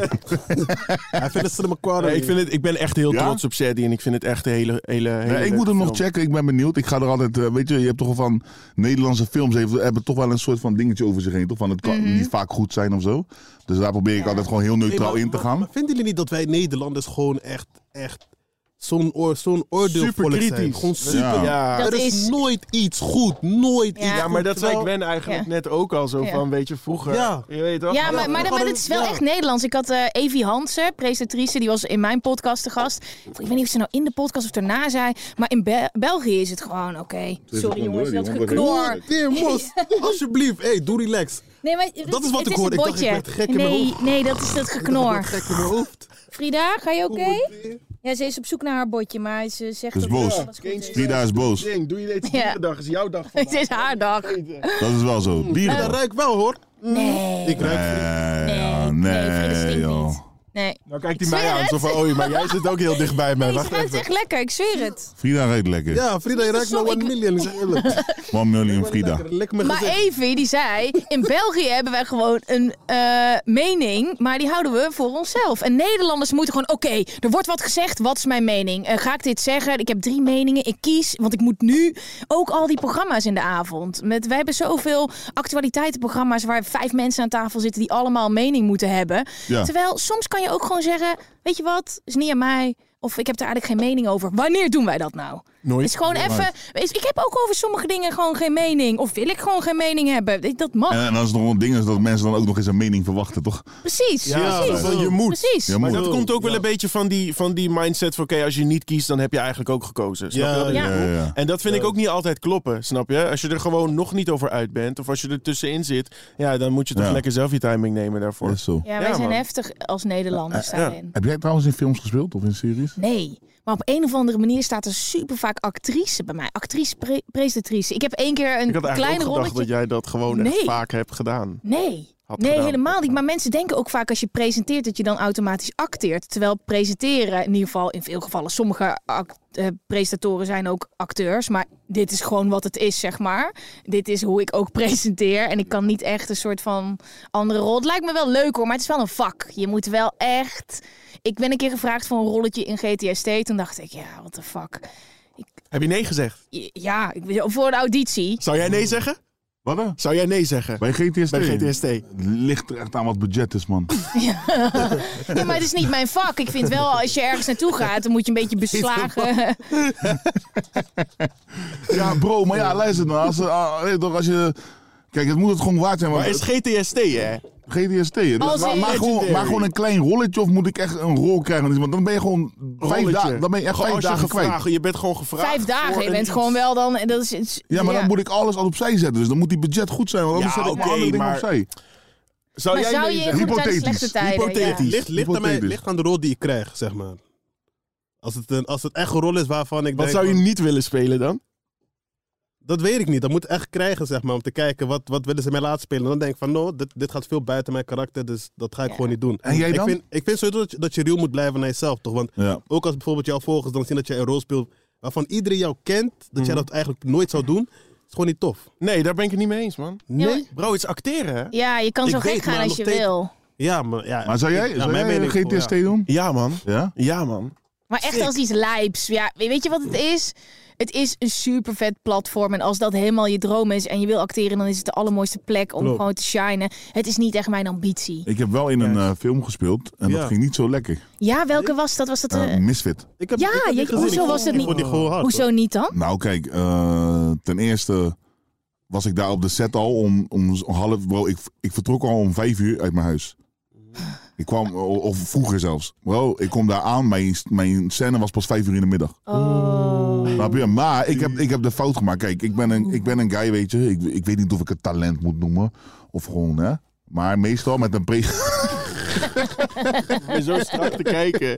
Hij vindt het cinema kwaad. Nee, ik, vind het, ik ben echt heel Ja? trots op Sadie en ik vind het echt een hele, hele, hele Nee, ik moet leuke hem nog film. checken. Ik ben benieuwd. Ik ga er altijd... eh, weet je, je hebt toch wel van... Nederlandse films heeft, hebben toch wel een soort van dingetje over zich heen. Toch van het kan niet vaak goed zijn of zo. Dus daar probeer ik altijd gewoon heel neutraal in te gaan. Vinden jullie niet dat wij Nederlanders gewoon echt, echt zo'n oor, zo'n oordeel zijn? Superkritisch. Gewoon super. Ja. Ja. Dat er is, is- nooit iets goed. Nooit Ja. iets Ja, maar dat zei Terwijl- Gwen eigenlijk Ja. net ook al zo Ja. van, weet je, vroeger. Ja. Je weet toch? Ja, maar, maar, dat- maar dat is wel Ja. echt Nederlands. Ik had eh Evie Hansen, presentatrice, die was in mijn podcast te gast. Ik weet niet of ze nou in de podcast of daarna zei. Maar in Bel- België is het gewoon oké. Sorry gewoon jongens, door, dat die honden geknor. Goed, Tim, mos. Alsjeblieft. Hey, doe relax. Nee, maar, Dat is wat het ik is hoorde. een Ik dacht, botje. ik werd gek in mijn nee, hoofd. nee, dat is dat geknor. Gek in mijn hoofd. Frida, ga je oké? Ja, ze is op zoek naar haar botje, maar ze zegt Dat is dat Dus boos. alles goed is. Frida is boos. Ding, doe je dit Ja. dag, is jouw dag Het is haar dag. Dat is wel zo. Dat Dierendag. ruik wel, hoor. Mm. Nee. Ik ruik... Nee, Nee, joh. nee, Frida nee, stinkt joh. niet. Nee. Nou kijkt hij Ik mij zweer aan, het. zo van, oh, maar jij zit ook heel dicht bij mij. Nee, ze Wacht ruikt even. echt lekker, ik zweer het. Frida ruikt lekker. Ja, Frida, je ruikt naar Sorry, 1 ik- million. Ik zeg eerlijk. One million Frida. Lekker mijn Maar gezicht. Evie die zei, in België hebben wij gewoon een eh, mening, maar die houden we voor onszelf. En Nederlanders moeten gewoon, oké, er wordt wat gezegd, wat is mijn mening? Eh, ga ik dit zeggen? Ik heb drie meningen, ik kies, want ik moet nu ook al die programma's in de avond. Met, wij hebben zoveel actualiteitenprogramma's waar vijf mensen aan tafel zitten die allemaal een mening moeten hebben. Ja. Terwijl soms kan je ook gewoon zeggen, weet je wat, is niet aan mij. Of ik heb daar eigenlijk geen mening over. Wanneer doen wij dat nou? Nooit. Het is gewoon even. is- Ik heb ook over sommige dingen gewoon geen mening. Of wil ik gewoon geen mening hebben. Ik- Dat mag. En, en als het nog een ding is dat mensen dan ook nog eens een mening verwachten, toch? precies. Ja, precies. van je moet. Precies. Ja, Maar moet. dat komt ook wel een beetje van die, van die mindset van, oké, als je niet kiest, dan heb je eigenlijk ook gekozen. Snap je Ja, wat ik Ja. bedoel? Ja, ja. En dat vind ik ook niet altijd kloppen, snap je? Als je er gewoon nog niet over uit bent, of als je er tussenin zit, ja, dan moet je toch Ja. lekker zelf je timing nemen daarvoor. Dat is zo. Ja, wij Ja, zijn man. heftig als Nederlanders daarin. Heb jij trouwens in films gespeeld of in series? Nee. Maar op een of andere manier staat er super vaak actrice bij mij. Actrice, pre- presentatrice. Ik heb één keer een Ik had eigenlijk klein ook gedacht rolletje. dat jij dat gewoon echt Nee. vaak hebt gedaan. Nee. had Nee, gedaan. helemaal niet. Maar mensen denken ook vaak als je presenteert dat je dan automatisch acteert. Terwijl presenteren, in ieder geval in veel gevallen, sommige act- eh, presentatoren zijn ook acteurs. Maar dit is gewoon wat het is, zeg maar. Dit is hoe ik ook presenteer. En ik kan niet echt een soort van andere rol. Het lijkt me wel leuk hoor, maar het is wel een vak. Je moet wel echt. Ik ben een keer gevraagd voor een rolletje in GTST. Toen dacht ik, ja, what the fuck. Heb je nee gezegd? Ja, ik, voor de auditie. Zou jij nee zeggen? Wat dan? Zou jij nee zeggen? Bij GTST. Bij GTST. Ligt er echt aan wat budget is, man. Ja, maar het is niet mijn vak. Ik vind wel, als je ergens naartoe gaat, dan moet je een beetje beslagen. ja, bro, maar ja, luister dan. Als, eh, ah, weet je toch, als je... Kijk, het moet het gewoon waard zijn. Want Maar het is GTST, hè? GDST. hè? Dus Als maar, in- maar gewoon, maar gewoon een klein rolletje of moet ik echt een rol krijgen? Dus, Want dan ben je gewoon vijf, Rolletje. dagen, dan ben je echt Gewoon vijf als je dagen kwijt. gevraagd- Je bent gewoon gevraagd. Vijf voor dagen, je een bent iets. gewoon wel dan... Dat is, iets- Ja, maar dan moet ik alles al opzij zetten. Dus dan moet die budget goed zijn, want anders Ja, zet ik mijn oké, andere dingen maar- opzij. Zou Maar jij zou nee je in zeggen? goede tijden, Hypothetisch, slechte tijden... hypothetisch. ja. Ligt, ligt, aan mij, Hypothetisch. ligt aan de rol die ik krijg, zeg maar. Als het, een, als het echt een rol is waarvan ik Wat denk... zou je van, niet willen spelen dan? Dat weet ik niet. Dat moet echt krijgen, zeg maar. Om te kijken, wat, wat willen ze mij laten spelen? En dan denk ik van, no, dit, dit gaat veel buiten mijn karakter. Dus dat ga ik Ja. gewoon niet doen. En jij dan? Ik vind, ik vind sowieso dat je, dat je real moet blijven naar jezelf, toch? Want Ja. ook als bijvoorbeeld jouw volgers dan zien dat jij een rol speelt... waarvan iedereen jou kent, dat jij dat eigenlijk nooit zou doen... is gewoon niet tof. Mhm. Nee, daar ben ik het niet mee eens, man. Nee. maar- Bro, het is acteren, hè? Ja, je kan Ik zo weet, gek gaan maar als nog je steeds- wil. Ja, maar... Ja, Maar zou jij, ik- zou jij mening een voor- ja. GTST doen? Ja, man. Ja? Ja, man. Maar echt Sick. als iets lijps. Ja, we- weet je wat het is? Het is een super vet platform. En als dat helemaal je droom is en je wil acteren, dan is het de allermooiste plek om Klopt. gewoon te shinen. Het is niet echt mijn ambitie. Ik heb wel in een eh, film gespeeld en Ja. dat ging niet zo lekker. Ja, welke was dat? Was dat Eh, eh, misfit. Ik heb, Ja, ik heb je- niet gezien. hoezo Ik was het niet- vond die gewoon hard, Hoezo niet dan? Nou, kijk, eh, ten eerste was ik daar op de set al om, om half. Bro, ik, ik vertrok al om vijf uur uit mijn huis. Ik kwam, o- of vroeger zelfs. Bro, ik kom daar aan, mijn, mijn scène was pas vijf uur in de middag. Oh. Snap je? Maar ik heb, ik heb de fout gemaakt. Kijk, ik ben een, ik ben een guy, weet je. Ik, ik weet niet of ik het talent moet noemen. Of gewoon, hè. Maar meestal met een pre... Ik ben zo strak te kijken.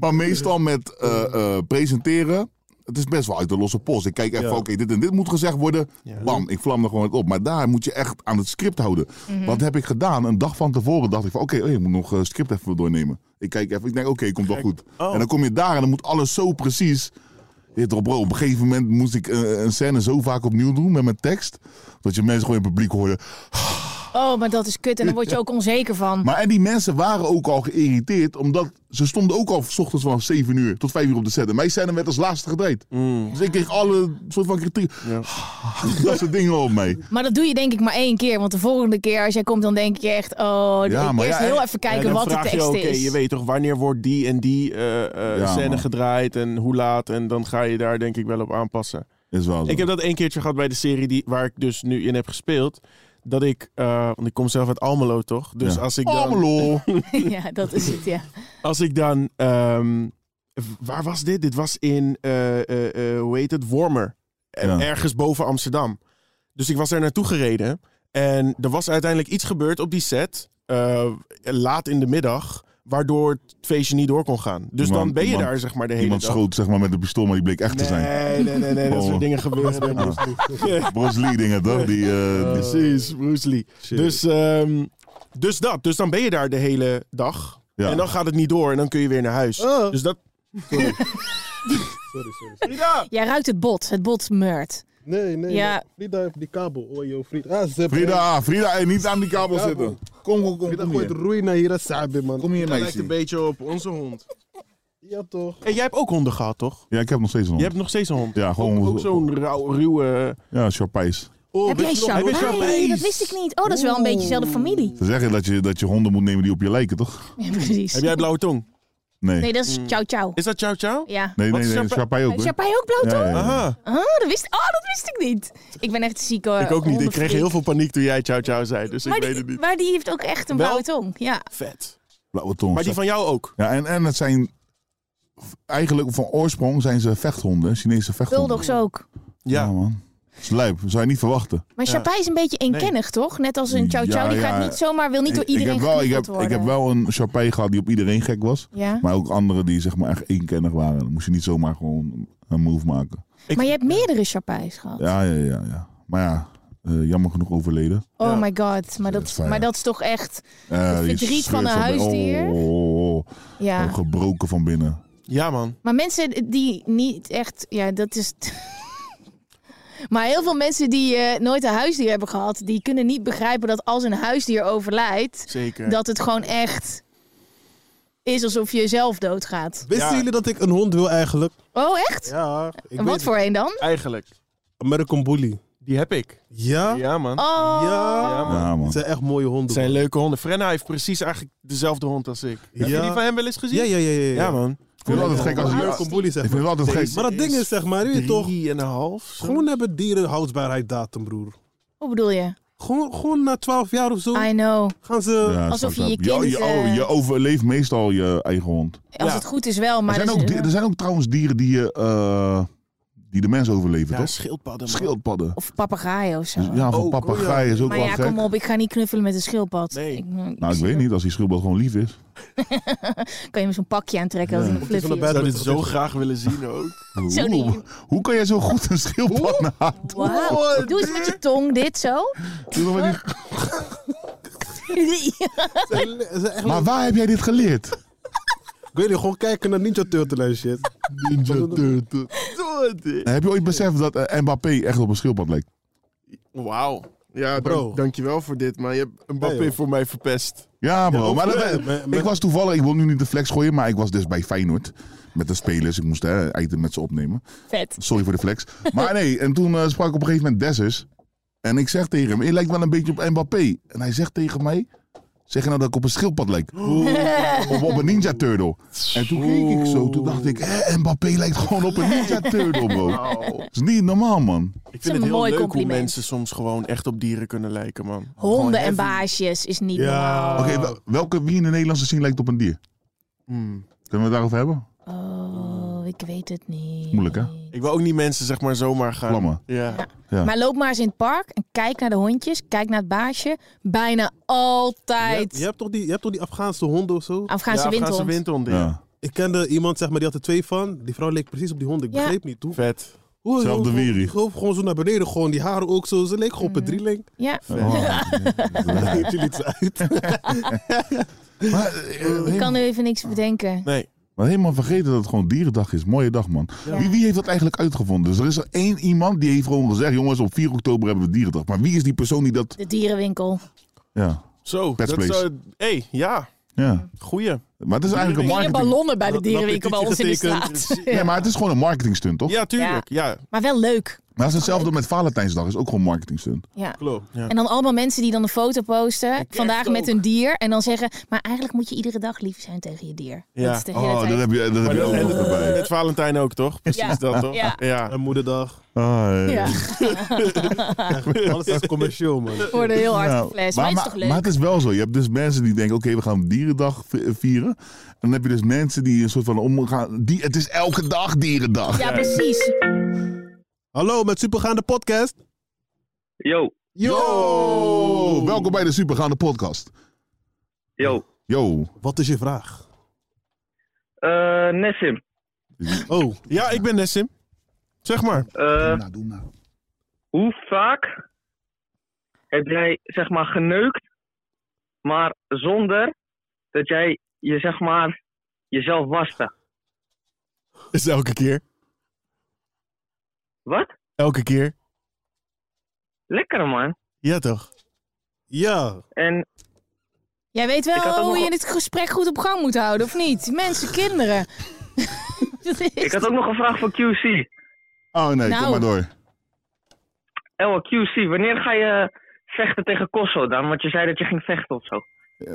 Maar meestal met eh, eh, presenteren, het is best wel uit de losse post. Ik kijk even, oké, dit en dit moet gezegd worden. Bam, ik vlam er gewoon op. Maar daar moet je echt aan het script houden. Wat heb ik gedaan? Een dag van tevoren dacht ik van, oké, oh, ik moet nog eh, script even doornemen. Ik kijk even, ik denk, oké, komt wel goed. En dan kom je daar en dan moet alles zo precies... Je weet toch, bro, op een gegeven moment moest ik eh, een scène zo vaak opnieuw doen met mijn tekst. Dat je mensen gewoon in het publiek hoorden. oh, maar dat is kut. En daar word je ook onzeker van. Maar en die mensen waren ook al geïrriteerd, omdat ze stonden ook al s ochtends vanaf 7 uur tot 5 uur op de set. En mijn scène werd als laatste gedraaid. Mm. Dus ik kreeg alle soort van kritiek. Dat soort dingen op mij. Maar dat doe je denk ik maar één keer. Want de volgende keer als jij komt, dan denk je echt... Oh, Ja, ik maar eerst ja, heel en- even En kijken dan wat de vraag tekst je, oké, is. je weet toch, wanneer wordt die en die eh, eh, Ja, scène man. gedraaid en hoe laat? En dan ga je daar denk ik wel op aanpassen. Is wel zo. Ik heb dat één keertje gehad bij de serie die, waar ik dus nu in heb gespeeld. Dat ik, eh, want ik kom zelf uit Almelo toch? Dus Ja. als ik dan... Almelo. ja, dat is het, ja. Als ik dan... ehm, w- waar was dit? Dit was in, eh, eh, eh, hoe heet het? Wormer. En Ja. Ergens boven Amsterdam. Dus ik was daar naartoe gereden. En er was uiteindelijk iets gebeurd op die set. eh, laat in de middag. Waardoor het feestje niet door kon gaan. Dus Iemand- dan ben je iemand- daar zeg maar de hele Iemand dag. schoot zeg maar met een pistool, maar die bleek echt te zijn. Nee, nee, nee, nee. Dat Oh. soort dingen gebeuren. bij Bruce Lee. Bruce Lee dingen toch? Die, eh, die- Precies, Bruce Lee. Dus, ehm, dus dat. Dus dan ben je daar de hele dag. Ja. En dan gaat het niet door en dan kun je weer naar huis. Dus dat... Jij ruikt het bot. Het bot meurt. Nee, nee. Ja. nee. Frida heeft die kabel. Oh, joh, Frida. Ah, ze hebben- Frida, Frida, en niet aan die kabel zitten. Kom, kom, kom, Frida kom gooit hier. roei naar hier, Sabi, man. Kom hier, meisje. beetje op onze hond. Ja, toch? En jij hebt ook honden gehad, toch? Ja, ik heb nog steeds een Je hond. hebt nog steeds een hond. Ja, gewoon- Ook, ook zo'n rauw, ruwe... Ja, Charpijs. Oh, Heb weet jij je nog- heb je champagne? champagne? Dat wist ik niet. Oh, dat is wel een beetje dezelfde familie. Ze zeggen dat je, dat je honden moet nemen die op je lijken, toch? Ja, precies. Heb jij blauwe tong? Nee. Nee, Nee, dat is ciao ciao. Is dat ciao ciao? Ja. nee, Wat nee. is nee, Sharpei- Sharpei ook, Hmm. Is hè? Sjapai ook blauw Ja, tong? ja, ja. Aha. Oh, dat wist, oh, dat wist ik niet. Ik ben echt ziek hoor. Ik ook niet. Ik kreeg heel veel paniek toen jij ciao ciao zei. Dus ik Maar weet het die, niet. maar die heeft ook echt een Wel? blauwe tong. Ja. Vet. Blauwe tong. Maar die van jou ook? Ja, en, en het zijn eigenlijk van oorsprong zijn ze vechthonden, Chinese vechthonden. Bulldogs ook. Ja, man. Dat is lijp, dat zou je niet verwachten. Maar Chapai is een beetje eenkennig, toch? Net als een ciao ciao. Ja, die gaat ja. niet zomaar, wil niet door Ik- ik, iedereen heb wel, ik, geknuffeld heb, worden. ik heb wel een charpei gehad die op iedereen gek was. Ja. Maar ook anderen die zeg maar echt eenkennig waren. Dan moest je niet zomaar gewoon een move maken. Ik- Maar je hebt meerdere Chapais gehad. Ja, ja, ja. ja. Maar ja, eh, jammer genoeg overleden. Oh my god. Maar dat, fijn, maar hè? dat is toch echt... Eh, je verdriet van een scheurt zo bij- huisdier. Oh, oh, oh. Ja. Oh, gebroken van binnen. Ja, man. Maar mensen die niet echt, ja, dat is. Maar heel veel mensen die eh, nooit een huisdier hebben gehad, die kunnen niet begrijpen dat als een huisdier overlijdt, Zeker. dat het gewoon echt is alsof je zelf doodgaat. Wisten Ja. jullie dat ik een hond wil eigenlijk? Oh, echt? Ja. Ik en wat voor een dan? Eigenlijk. American Bully. Die heb ik. Ja? Ja, man. Oh, Ja. Ja, man. Ja, man. Het zijn echt mooie honden. Het zijn leuke Eh, honden. Frenna heeft precies eigenlijk dezelfde hond als ik. Heb je Ja. die van hem wel eens gezien? Ja, ja, ja, ja. Ja, man. Ik vind het altijd gek als je... American Bully, zeg Ik vind maar. het altijd gek. Maar dat ding is, zeg maar, weet je toch... Drie en een half. zo. Gewoon hebben dieren houdbaarheidsdatum, broer. hoe bedoel je? Gewoon, gewoon na 12 jaar of zo I know. gaan ze. Ja, Alsof snap je ik. je je, kind, je, oh, eh, je overleeft meestal je eigen hond. Als Ja. het goed is wel, maar... dus er, zijn dat ook, is- di- dus- er zijn ook trouwens dieren die, je, eh, die de mens overleven, Ja, toch? schildpadden. man. Schildpadden. Dus Of papegaaien of zo. Ja, van Oh, papegaaien is ook maar wel ja, gek. kom op, ik ga niet knuffelen met een schildpad. Nee. Ik, Nou, ik weet niet, als die schildpad gewoon lief is. Kan je me zo'n pakje aantrekken als in een Of het is wel fluffy een Ik is? bad- zou dit zo graag willen zien ook. Zo Oeh, die- hoe kan jij zo goed een schildpad na? Wauw. Doe eens met je tong, dit zo. Doe maar met die- Ze- ze- ze echt- Maar waar heb jij dit geleerd? Ik weet niet, gewoon kijken naar Ninja Turtle en shit. Ninja Turtle. Heb je ooit beseft dat eh, Mbappé echt op een schildpad lijkt? Wauw. Ja, Bro. dank, dankjewel voor dit, maar je hebt een Nee, Mbappé joh. voor mij verpest. Ja, bro. ook maar dat- met- met- met- ik was toevallig, ik wil nu niet de flex gooien, maar ik was dus bij Feyenoord. Met de spelers. Ik moest hè, item met ze opnemen. Vet. Sorry voor de flex. Maar nee, en toen eh, sprak ik op een gegeven moment Dessus. En ik zeg tegen hem, je lijkt wel een beetje op Mbappé. En hij zegt tegen mij, zeg je nou dat ik op een schildpad lijk? Of op een ninja turtle. En toen keek ik zo, toen dacht ik, hè, Mbappé lijkt gewoon op een ninja turtle, bro. Dat is niet normaal, man. Ik een vind het heel mooi leuk hoe compliment. mensen soms gewoon echt op dieren kunnen lijken, man. Gewoon Honden heavy. en baasjes is niet normaal. Ja. Oké, wel- welke wie in de Nederlandse scene lijkt op een dier? Mm. Kunnen we het daarover hebben? Oh, ik weet het niet. Moeilijk, hè? Ik wil ook niet mensen zeg maar zomaar gaan. Vlammen. Ja. Ja. Maar loop maar eens in het park en kijk naar de hondjes, kijk naar het baasje. Bijna Je altijd hebt, je hebt toch die, je hebt toch die Afghaanse honden of zo? Afghaanse ja, windhond. Afghaanse windhonden. ja. Ja. Ik kende iemand, zeg maar, die had er twee van. Die vrouw leek precies op die hond. Ik Ja. begreep niet hoe. Vet. hoe Zelfde hoe- hoe- wierie. Gewoon, gewoon zo naar beneden, gewoon die haren ook zo. Ze leek gewoon op een drieling. Ja, Oh. Je liet ze uit. Maar, eh, ik helemaal, kan nu even niks bedenken. Nee. maar helemaal vergeten dat het gewoon dierendag is. Mooie dag, man. Wie, wie heeft dat eigenlijk uitgevonden? Dus er is er één iemand die heeft gewoon gezegd... jongens, op 4 oktober hebben we dierendag. Maar wie is die persoon die dat... De dierenwinkel. Ja, Zo. Pets dat please. zou- hey, ja. ja. Goeie. Maar het is eigenlijk een Meer marketing... ballonnen bij de Dat- dat dierenwinkel bij ons in de straat. Nee, maar het is gewoon een marketing stunt, toch? Ja, tuurlijk. Ja. Maar wel leuk. Maar het is hetzelfde met Valentijnsdag. is ook gewoon een marketing stunt. Ja. Klopt. Ja. En dan allemaal mensen die dan een foto posten. Vandaag met ook. hun dier. En dan zeggen, maar eigenlijk moet je iedere dag lief zijn tegen je dier. Ja. Dat is de hele Oh, tijd. dat heb je, dat heb je Maar ook dat- nog en- Eh, erbij. Net Valentijn ook, toch? Precies Ja. dat, toch? Ja. En moederdag. Ah, ja. Ja, Alles is commercieel, man. worden heel hard Nou, geflasht. Maar, het is toch leuk? maar het is wel zo. Je hebt dus mensen die denken, oké, we gaan Dierendag vi- vieren. En dan heb je dus mensen die een soort van omgaan. Die, het is elke dag Dierendag. Ja, precies. Hallo, met Supergaande Podcast. Yo, Yo! Oh, Welkom bij de Supergaande Podcast. yo. Yo. Wat is je vraag? Eh Nessim, Oh, Ja, ik ben Nessim. Zeg maar. eh, nou, doe nou. hoe vaak heb jij zeg maar geneukt, maar zonder dat jij je zeg maar jezelf waste? Is elke keer. Wat? Elke keer. Lekker man. Ja, toch? ja. En Jij weet Ik had ook wel hoe nog- je dit gesprek goed op gang moet houden, of niet? Mensen, kinderen. Dat is- ik had ook nog een vraag voor QC. Oh nee, Nou. kom maar door. El QC, wanneer ga je vechten tegen Kosso dan? Want je zei dat je ging vechten of zo.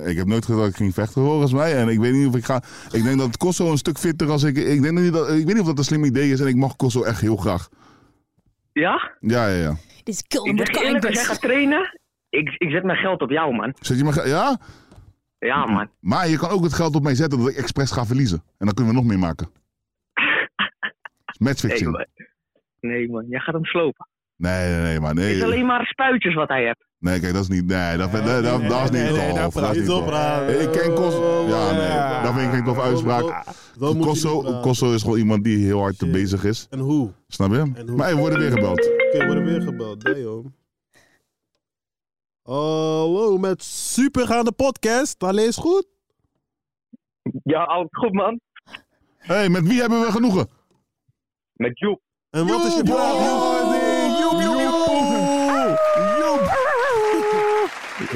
Ik heb nooit gezegd dat ik ging vechten volgens mij. En ik weet niet of ik ga. Ik denk dat Kosso een stuk fitter als ik. Ik, denk niet dat, ik weet niet of dat een slim idee is. En ik mag Kosso echt heel graag. Ja? Ja, ja, ja. Dit is kill Oh, Ik them with zeg je eerlijk, als jij kindness. gaat trainen, ik, ik zet mijn geld op jou man. Zet je maar. ge- Ja? Ja man. Maar je kan ook het geld op mij zetten dat ik expres ga verliezen. En dan kunnen we nog meer maken. Nee Matchfixing. man, nee, man. jij gaat hem slopen. Nee, nee, nee, maar Het is nee. alleen maar spuitjes wat hij hebt. Nee, kijk, dat is niet. Nee, dat, dat, dat, dat is niet Nee, nee, daar tof. Dat praat is je niet zo tof. praat. Oh, Ik ken Kosso. Ja, nee. Ja. Dat vind ik geen toffe uitspraak. Zo moet je niet Kosso, praten. Kosso is gewoon iemand die heel hard te Shit. bezig is. En hoe? Snap je? En hoe- Maar hey, we worden weer gebeld. Oké, we worden weer gebeld. Nee, joh. Hallo, met Supergaande Podcast. Alles is goed? Ja, alles goed man. hey, met wie hebben we genoegen? Met Joep. En wat is je vraag? Joep, joep, joep. Joep?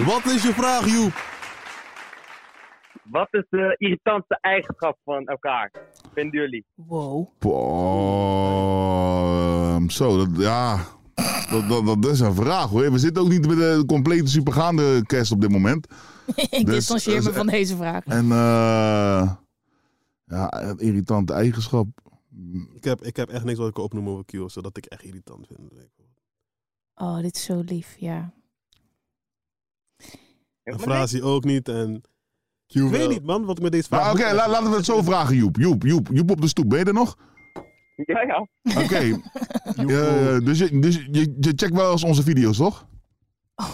Wat is je vraag, Joep? Wat is de irritantste eigenschap van elkaar? Vinden jullie? Wow. Ehm, Zo, dat, ja. Dat, dat, dat is een vraag hoor. We zitten ook niet met de complete supergaande kerst op dit moment. Ik Dus- distancieer me dus- van deze vraag. En eh ja, een irritante eigenschap. Ik heb, ik heb echt niks wat ik kan opnoemen over Q, zodat ik echt irritant vind. Oh, dit is zo lief, ja. En Frazi ook niet. En Q ik weet niet, man, wat ik met deze Maar vraag oké, moet. la- laten we het zo vragen, Joep. Joep, Joep, Joep op de stoep, ben je er nog? Ja, ja. Oké. Eh, dus je, dus je, je checkt wel eens onze video's, toch?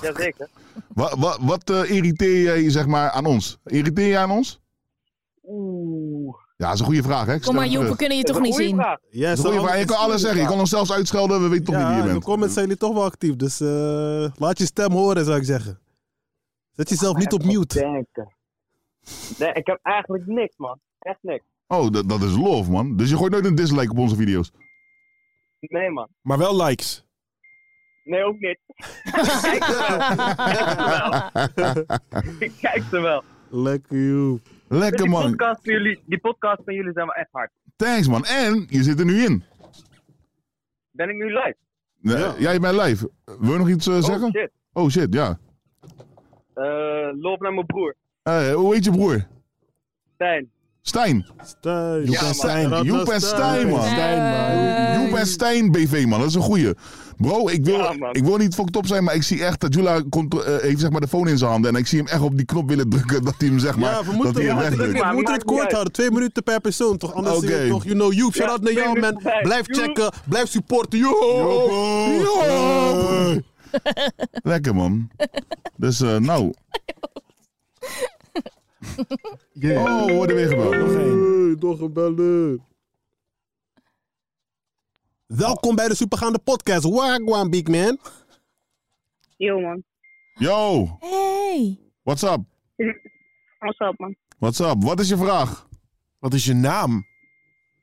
Jazeker. Wat, wat, wat eh, irriteer jij zeg maar, aan ons? Irriteer je aan ons? Oeh. Ja, dat is een goede vraag, hè? Ik Kom stel maar, het Joep, we terug. kunnen je Dat is toch een niet goeie zien? vraag. Ja, Dat is een goede vraag. Je kan alles zeggen. Je kan ons zelfs uitschelden, we weten toch ja, niet wie je in de bent. comments zijn jullie toch wel actief, dus eh, laat je stem horen, zou ik zeggen. Zet jezelf niet op mute. Denken. Nee, ik heb eigenlijk niks, man. Echt niks. Oh, dat, dat is love, man. Dus je gooit nooit een dislike op onze video's. Nee, man. Maar wel likes. Nee, ook niet. Kijk ze wel. Kijk ze wel. Lekker, Joep. Lekker, Die man. podcast, van jullie, die podcast van jullie zijn wel echt hard. Thanks, man. En je zit er nu in. Ben ik nu live? Nee, Jij bent live. Wil je nog iets eh, zeggen? Oh, shit. Oh, shit, ja. Eh, loop naar mijn broer. Eh, hoe heet je broer? Stijn. Stijn. Stijn. Joep en Stijn. Rotterdam. Joep en Stijn, man. Eh, Joep en Stijn BV, man. Dat is een goeie. Bro, ik wil, Ja, man. ik wil niet fucked op zijn, maar ik zie echt dat Jula komt, eh, heeft zeg maar de phone in zijn handen. En ik zie hem echt op die knop willen drukken dat hij hem zeg maar... Ja, we dat moeten, hij we hem moeten, het, wegdrukt. maar we moeten maakt het niet kort uit. houden. Twee minuten per persoon, toch? Anders Oké. zie je het toch, you know, Joep. Shout out naar twee jou, man. minuten bij. Blijf Joep. checken, blijf supporten. Joep! Joep! Lekker, man. Dus, eh, nou... Oh, we worden weer gebeld. Hey, toch een bellen. Welkom bij de Supergaande Podcast. Wagwan, big man. Yo man, Yo, Hey. what's up? what's up man? What's up? Wat is je vraag? Wat is je naam?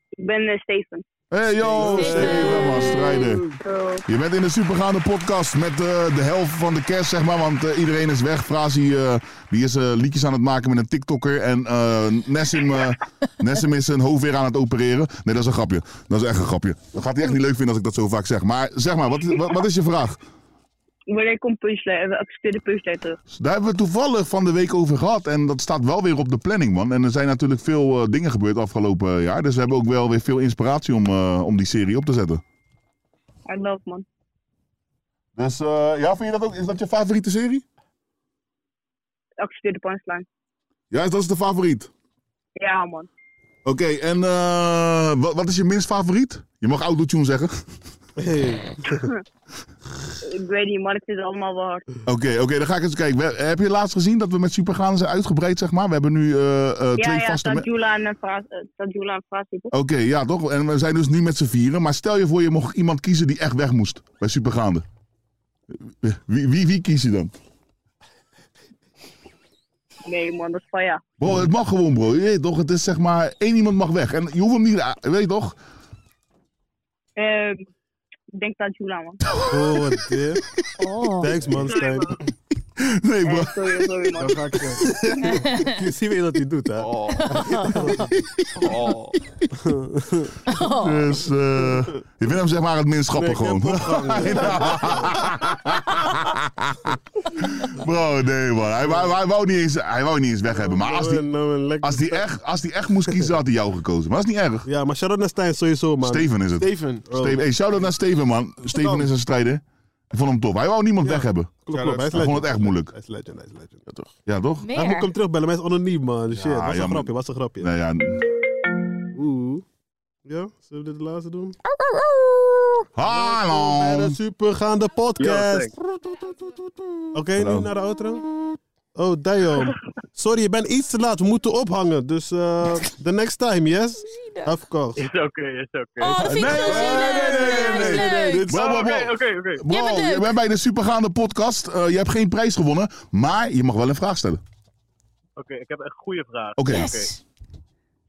Ik ben eh, Steven. Hey, yo, Steven, man, strijder. Yo. Je bent in de supergaande podcast met eh, de helft van de kerst, zeg maar. Want eh, iedereen is weg. Frazi eh, die is eh, liedjes aan het maken met een TikToker. En eh, Nessim, eh, Nessim is zijn hoofd weer aan het opereren. Nee, dat is een grapje. Dat is echt een grapje. Dat gaat hij echt niet leuk vinden als ik dat zo vaak zeg. Maar zeg maar, wat, wat, wat is je vraag? Wanneer komt punchline? We accepteren punchline terug. Daar hebben we het toevallig van de week over gehad. En dat staat wel weer op de planning, man. En er zijn natuurlijk veel eh, dingen gebeurd afgelopen jaar. Dus we hebben ook wel weer veel inspiratie om, eh, om die serie op te zetten. I love man. Dus eh, ja, vind je dat ook? Is dat je favoriete serie? Accepteer de punchline. Ja, is dat is de favoriet. Ja man. Oké, en eh, wat, wat is je minst favoriet? Je mag autotune zeggen. Ik weet niet, maar ik vind het allemaal wel hard. Oké, oké, dan ga ik eens kijken. We- heb je laatst gezien dat we met Supergaan zijn uitgebreid, zeg maar? We hebben nu eh, eh, Ja, twee ja, vaste... me- staat Jula en een Fraas- eh, staat Jula en Fraas hier, toch? Oké, ja, toch? En we zijn dus nu met z'n vieren. Maar stel je voor, je mocht iemand kiezen die echt weg moest bij Supergaande. Wie, wie, wie kies je dan? Nee man, dat is van ja. Bro, het mag gewoon, bro. Je weet toch? Het is zeg maar, één iemand mag weg. En je hoeft hem niet... je Weet je toch? Ehm, ik denk dat Jula man. Oh, wat dit. Oh. Thanks, man, Stijn. Nee, bro. Eh, sorry, sorry man. ga ik eh. Je ziet weer dat hij doet, hè? Dus, eh, je vindt hem zeg maar het minst grappig Oh. Nee, ik heb gewoon. Bro, nee man. Hij, wou- hij wou niet eens, hij wou niet eens weg hebben. Maar als Nou, die, een- nou, een lekker- als, die echt, als die echt moest kiezen, had hij jou gekozen. Maar dat is niet erg. Ja, maar shout-out naar Stijn sowieso, man. Oh. Steven is het. Steven. Steven. Hey, shout-out naar Steven man. Steven is een strijder. Ik vond hem top. Hij wou niemand weg hebben. Klopt, klopt. Hij is Ik vond legend. het echt moeilijk. Hij is legend, hij is legend. Ja, toch? Ja, toch? Hij moet ik hem Meer. terugbellen, maar hij is anoniem, man. Shit, was ja, een man. grapje, was een grapje. Nou ja. Oeh. Ja, zullen we dit de laatste doen? Oh, Bij Hallo. de supergaande podcast. Oké, nu Hallo. naar de outro. Oh, damn. Sorry, je bent iets te laat. We moeten ophangen. Dus eh the next time, yes? Of course. Is oké, is oké. Oh, dat vind ik Nee, zo nee, nee, nee, nee, nee, zielig. Dat is leuk. Wow, Oh, wow, Oké, wow. oké, oké. Bro, Jij bent leuk. je bent bij de supergaande podcast. Eh, je hebt geen prijs gewonnen, maar je mag wel een vraag stellen. Oké, ik heb een goede vraag. Oké. Yes.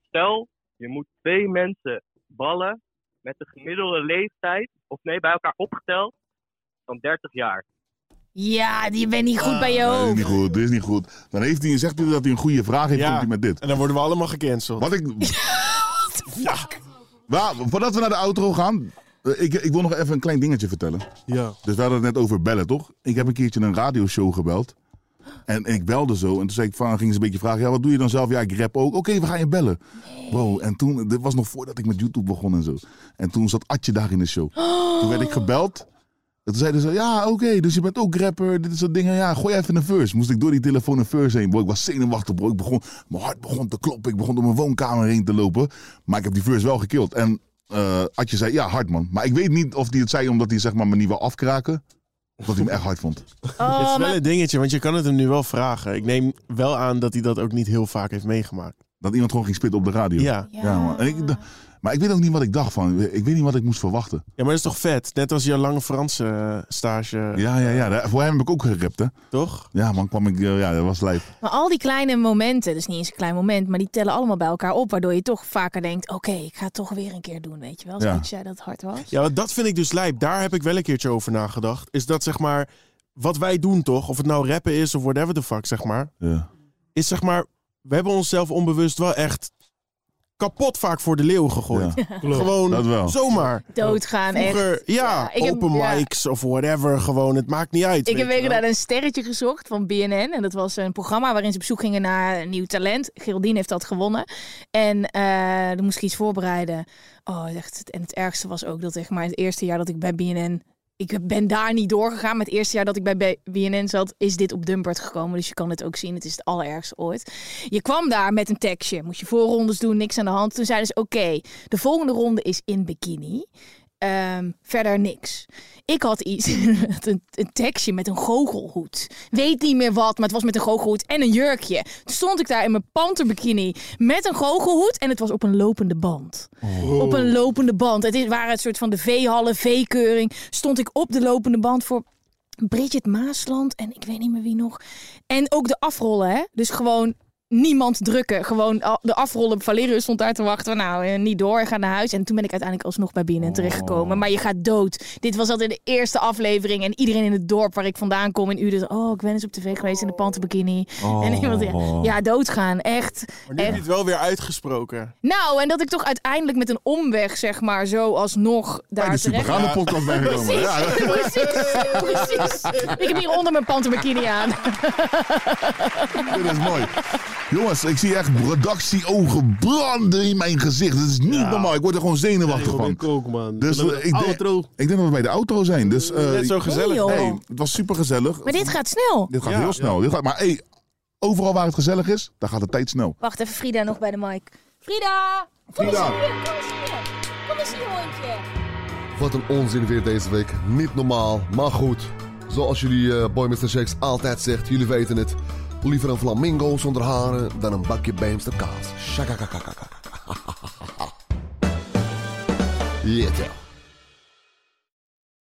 Stel, je moet twee mensen ballen met de gemiddelde leeftijd, of nee, bij elkaar opgeteld, van 30 jaar. Ja, die bent niet goed bij je Ah, Nee, dit is hoofd. niet goed, dit is niet goed. Dan heeft hij, zegt hij dat hij een goede vraag heeft, Ja. komt hij met dit. En dan worden we allemaal gecanceld. Wat ik... Waar, voordat we naar de outro gaan, eh, ik, ik wil nog even een klein dingetje vertellen. Ja. Dus we hadden het net over bellen, toch? Ik heb een keertje een radioshow gebeld. En, en ik belde zo. En toen zei ik van, ging ze een beetje vragen. Ja, wat doe je dan zelf? Ja, ik rap ook. Oké, we gaan je bellen. Bro, en toen... Dit was nog voordat ik met YouTube begon en zo. En toen zat Atje daar in de show. Toen werd ik gebeld. En toen zeiden ze, ja, oké, dus je bent ook rapper, dit is dat ding. En Ja, gooi even een verse. Moest ik door die telefoon een verse heen. Bro, ik was zenuwachtig, bro. Ik begon, mijn hart begon te kloppen. Ik begon door mijn woonkamer heen te lopen. Maar ik heb die verse wel gekild. En eh Adje zei, ja, hard man. Maar ik weet niet of hij het zei omdat hij zeg maar, me niet wil afkraken. Of dat hij me echt hard vond. Het is Oh, wel maar een dingetje, want je kan het hem nu wel vragen. Ik neem wel aan dat hij dat ook niet heel vaak heeft meegemaakt. Dat iemand gewoon ging spitten op de radio. Ja. Ja. ja man. En ik, d- maar ik weet ook niet wat ik dacht van. Ik weet niet wat ik moest verwachten. Ja, maar dat is toch vet? Net als jouw lange Franse eh, stage, Ja, ja, ja. daar- Voor hem heb ik ook geript, hè. toch? Ja, man, kwam ik... eh, Ja, dat was lijf. Maar al die kleine momenten, dus niet eens een klein moment, maar die tellen allemaal bij elkaar op. Waardoor je toch vaker denkt: oké, ik ga het toch weer een keer doen. Weet je wel, Ja. zoals jij dat hard was. Ja, want dat vind ik dus lijp. Daar heb ik wel een keertje over nagedacht. Is dat zeg maar, wat wij doen toch, of het nou rappen is of whatever the fuck zeg maar. Ja. Is zeg maar, we hebben onszelf onbewust wel echt kapot vaak voor de leeuw gegooid. Gewoon Dat wel. zomaar. Doodgaan. echt. Vroeger, ja, Ja, ik heb- open ja. mics of whatever, gewoon, het maakt niet uit. Ik heb weet je weken wel. naar een sterretje gezocht van BNN. En dat was een programma waarin ze op zoek gingen naar nieuw talent. Geraldine heeft dat gewonnen. En eh dan moest ik iets voorbereiden. Oh, echt. En het ergste was ook dat zeg maar, het eerste jaar dat ik bij BNN... Ik ben daar niet doorgegaan. Maar het eerste jaar dat ik bij B- BNN zat, is dit op Dumpert gekomen. Dus je kan het ook zien. Het is het allerergste ooit. Je kwam daar met een tekstje. Moest je voorrondes doen, niks aan de hand. Toen zeiden ze, oké, de volgende ronde is in bikini. Ehm, verder niks. Ik had iets, met een, een tekstje met een goochelhoed. Weet niet meer wat, maar het was met een goochelhoed en een jurkje. Toen stond ik daar in mijn panterbikini met een goochelhoed en het was op een lopende band. Oh. Op een lopende band. Het is- waren het soort van de veehallen, veekeuring. Stond ik op de lopende band voor Bridget Maasland en ik weet niet meer wie nog. En ook de afrollen, hè? Dus gewoon niemand drukken. Gewoon al- de afrollen. Valerio stond daar te wachten. van, Nou, eh, niet door, ga naar huis. En toen ben ik uiteindelijk alsnog bij BNN Oh. terechtgekomen. Maar je gaat dood. Dit was altijd de eerste aflevering. En iedereen in het dorp waar ik vandaan kom in Uden. Oh, ik ben eens op tv geweest in de pantenbikini. En iemand, ja, ja, doodgaan. Echt. Oh. Maar nu heb je het wel weer uitgesproken. Nou, en dat ik toch uiteindelijk met een omweg, zeg maar, zo alsnog daar Bij de terecht... supergaande podcast bijgekomen. Precies, Ja, dat- precies, precies. Ik heb hier onder mijn pantenbikini aan. Dit is mooi. Jongens, ik zie echt redactieogen branden in mijn gezicht. Dat is niet normaal. Ik word er gewoon zenuwachtig Gewoon van. kook, man. Dus Dan eh, ik, denk, outro. ik denk dat we bij de auto zijn. Dus, eh, Mm, Net zo gezellig. Nee, joh. hey, het was super gezellig. Maar dit gaat snel. Dit gaat Ja. heel snel. Dit gaat, maar hey, overal waar het gezellig is, daar gaat de tijd snel. Wacht even, Frida nog bij de mic. Frida! Kom eens Frida. hier, kom eens hier. Kom eens hier, hondje. Wat een onzin weer deze week. Niet normaal, maar goed. Zoals jullie eh, Boy Mr. Shakes altijd zegt, jullie weten het. Liever een flamingo zonder haren dan een bakje Beemster kaas. Shakakakakaka. Yeah, yeah.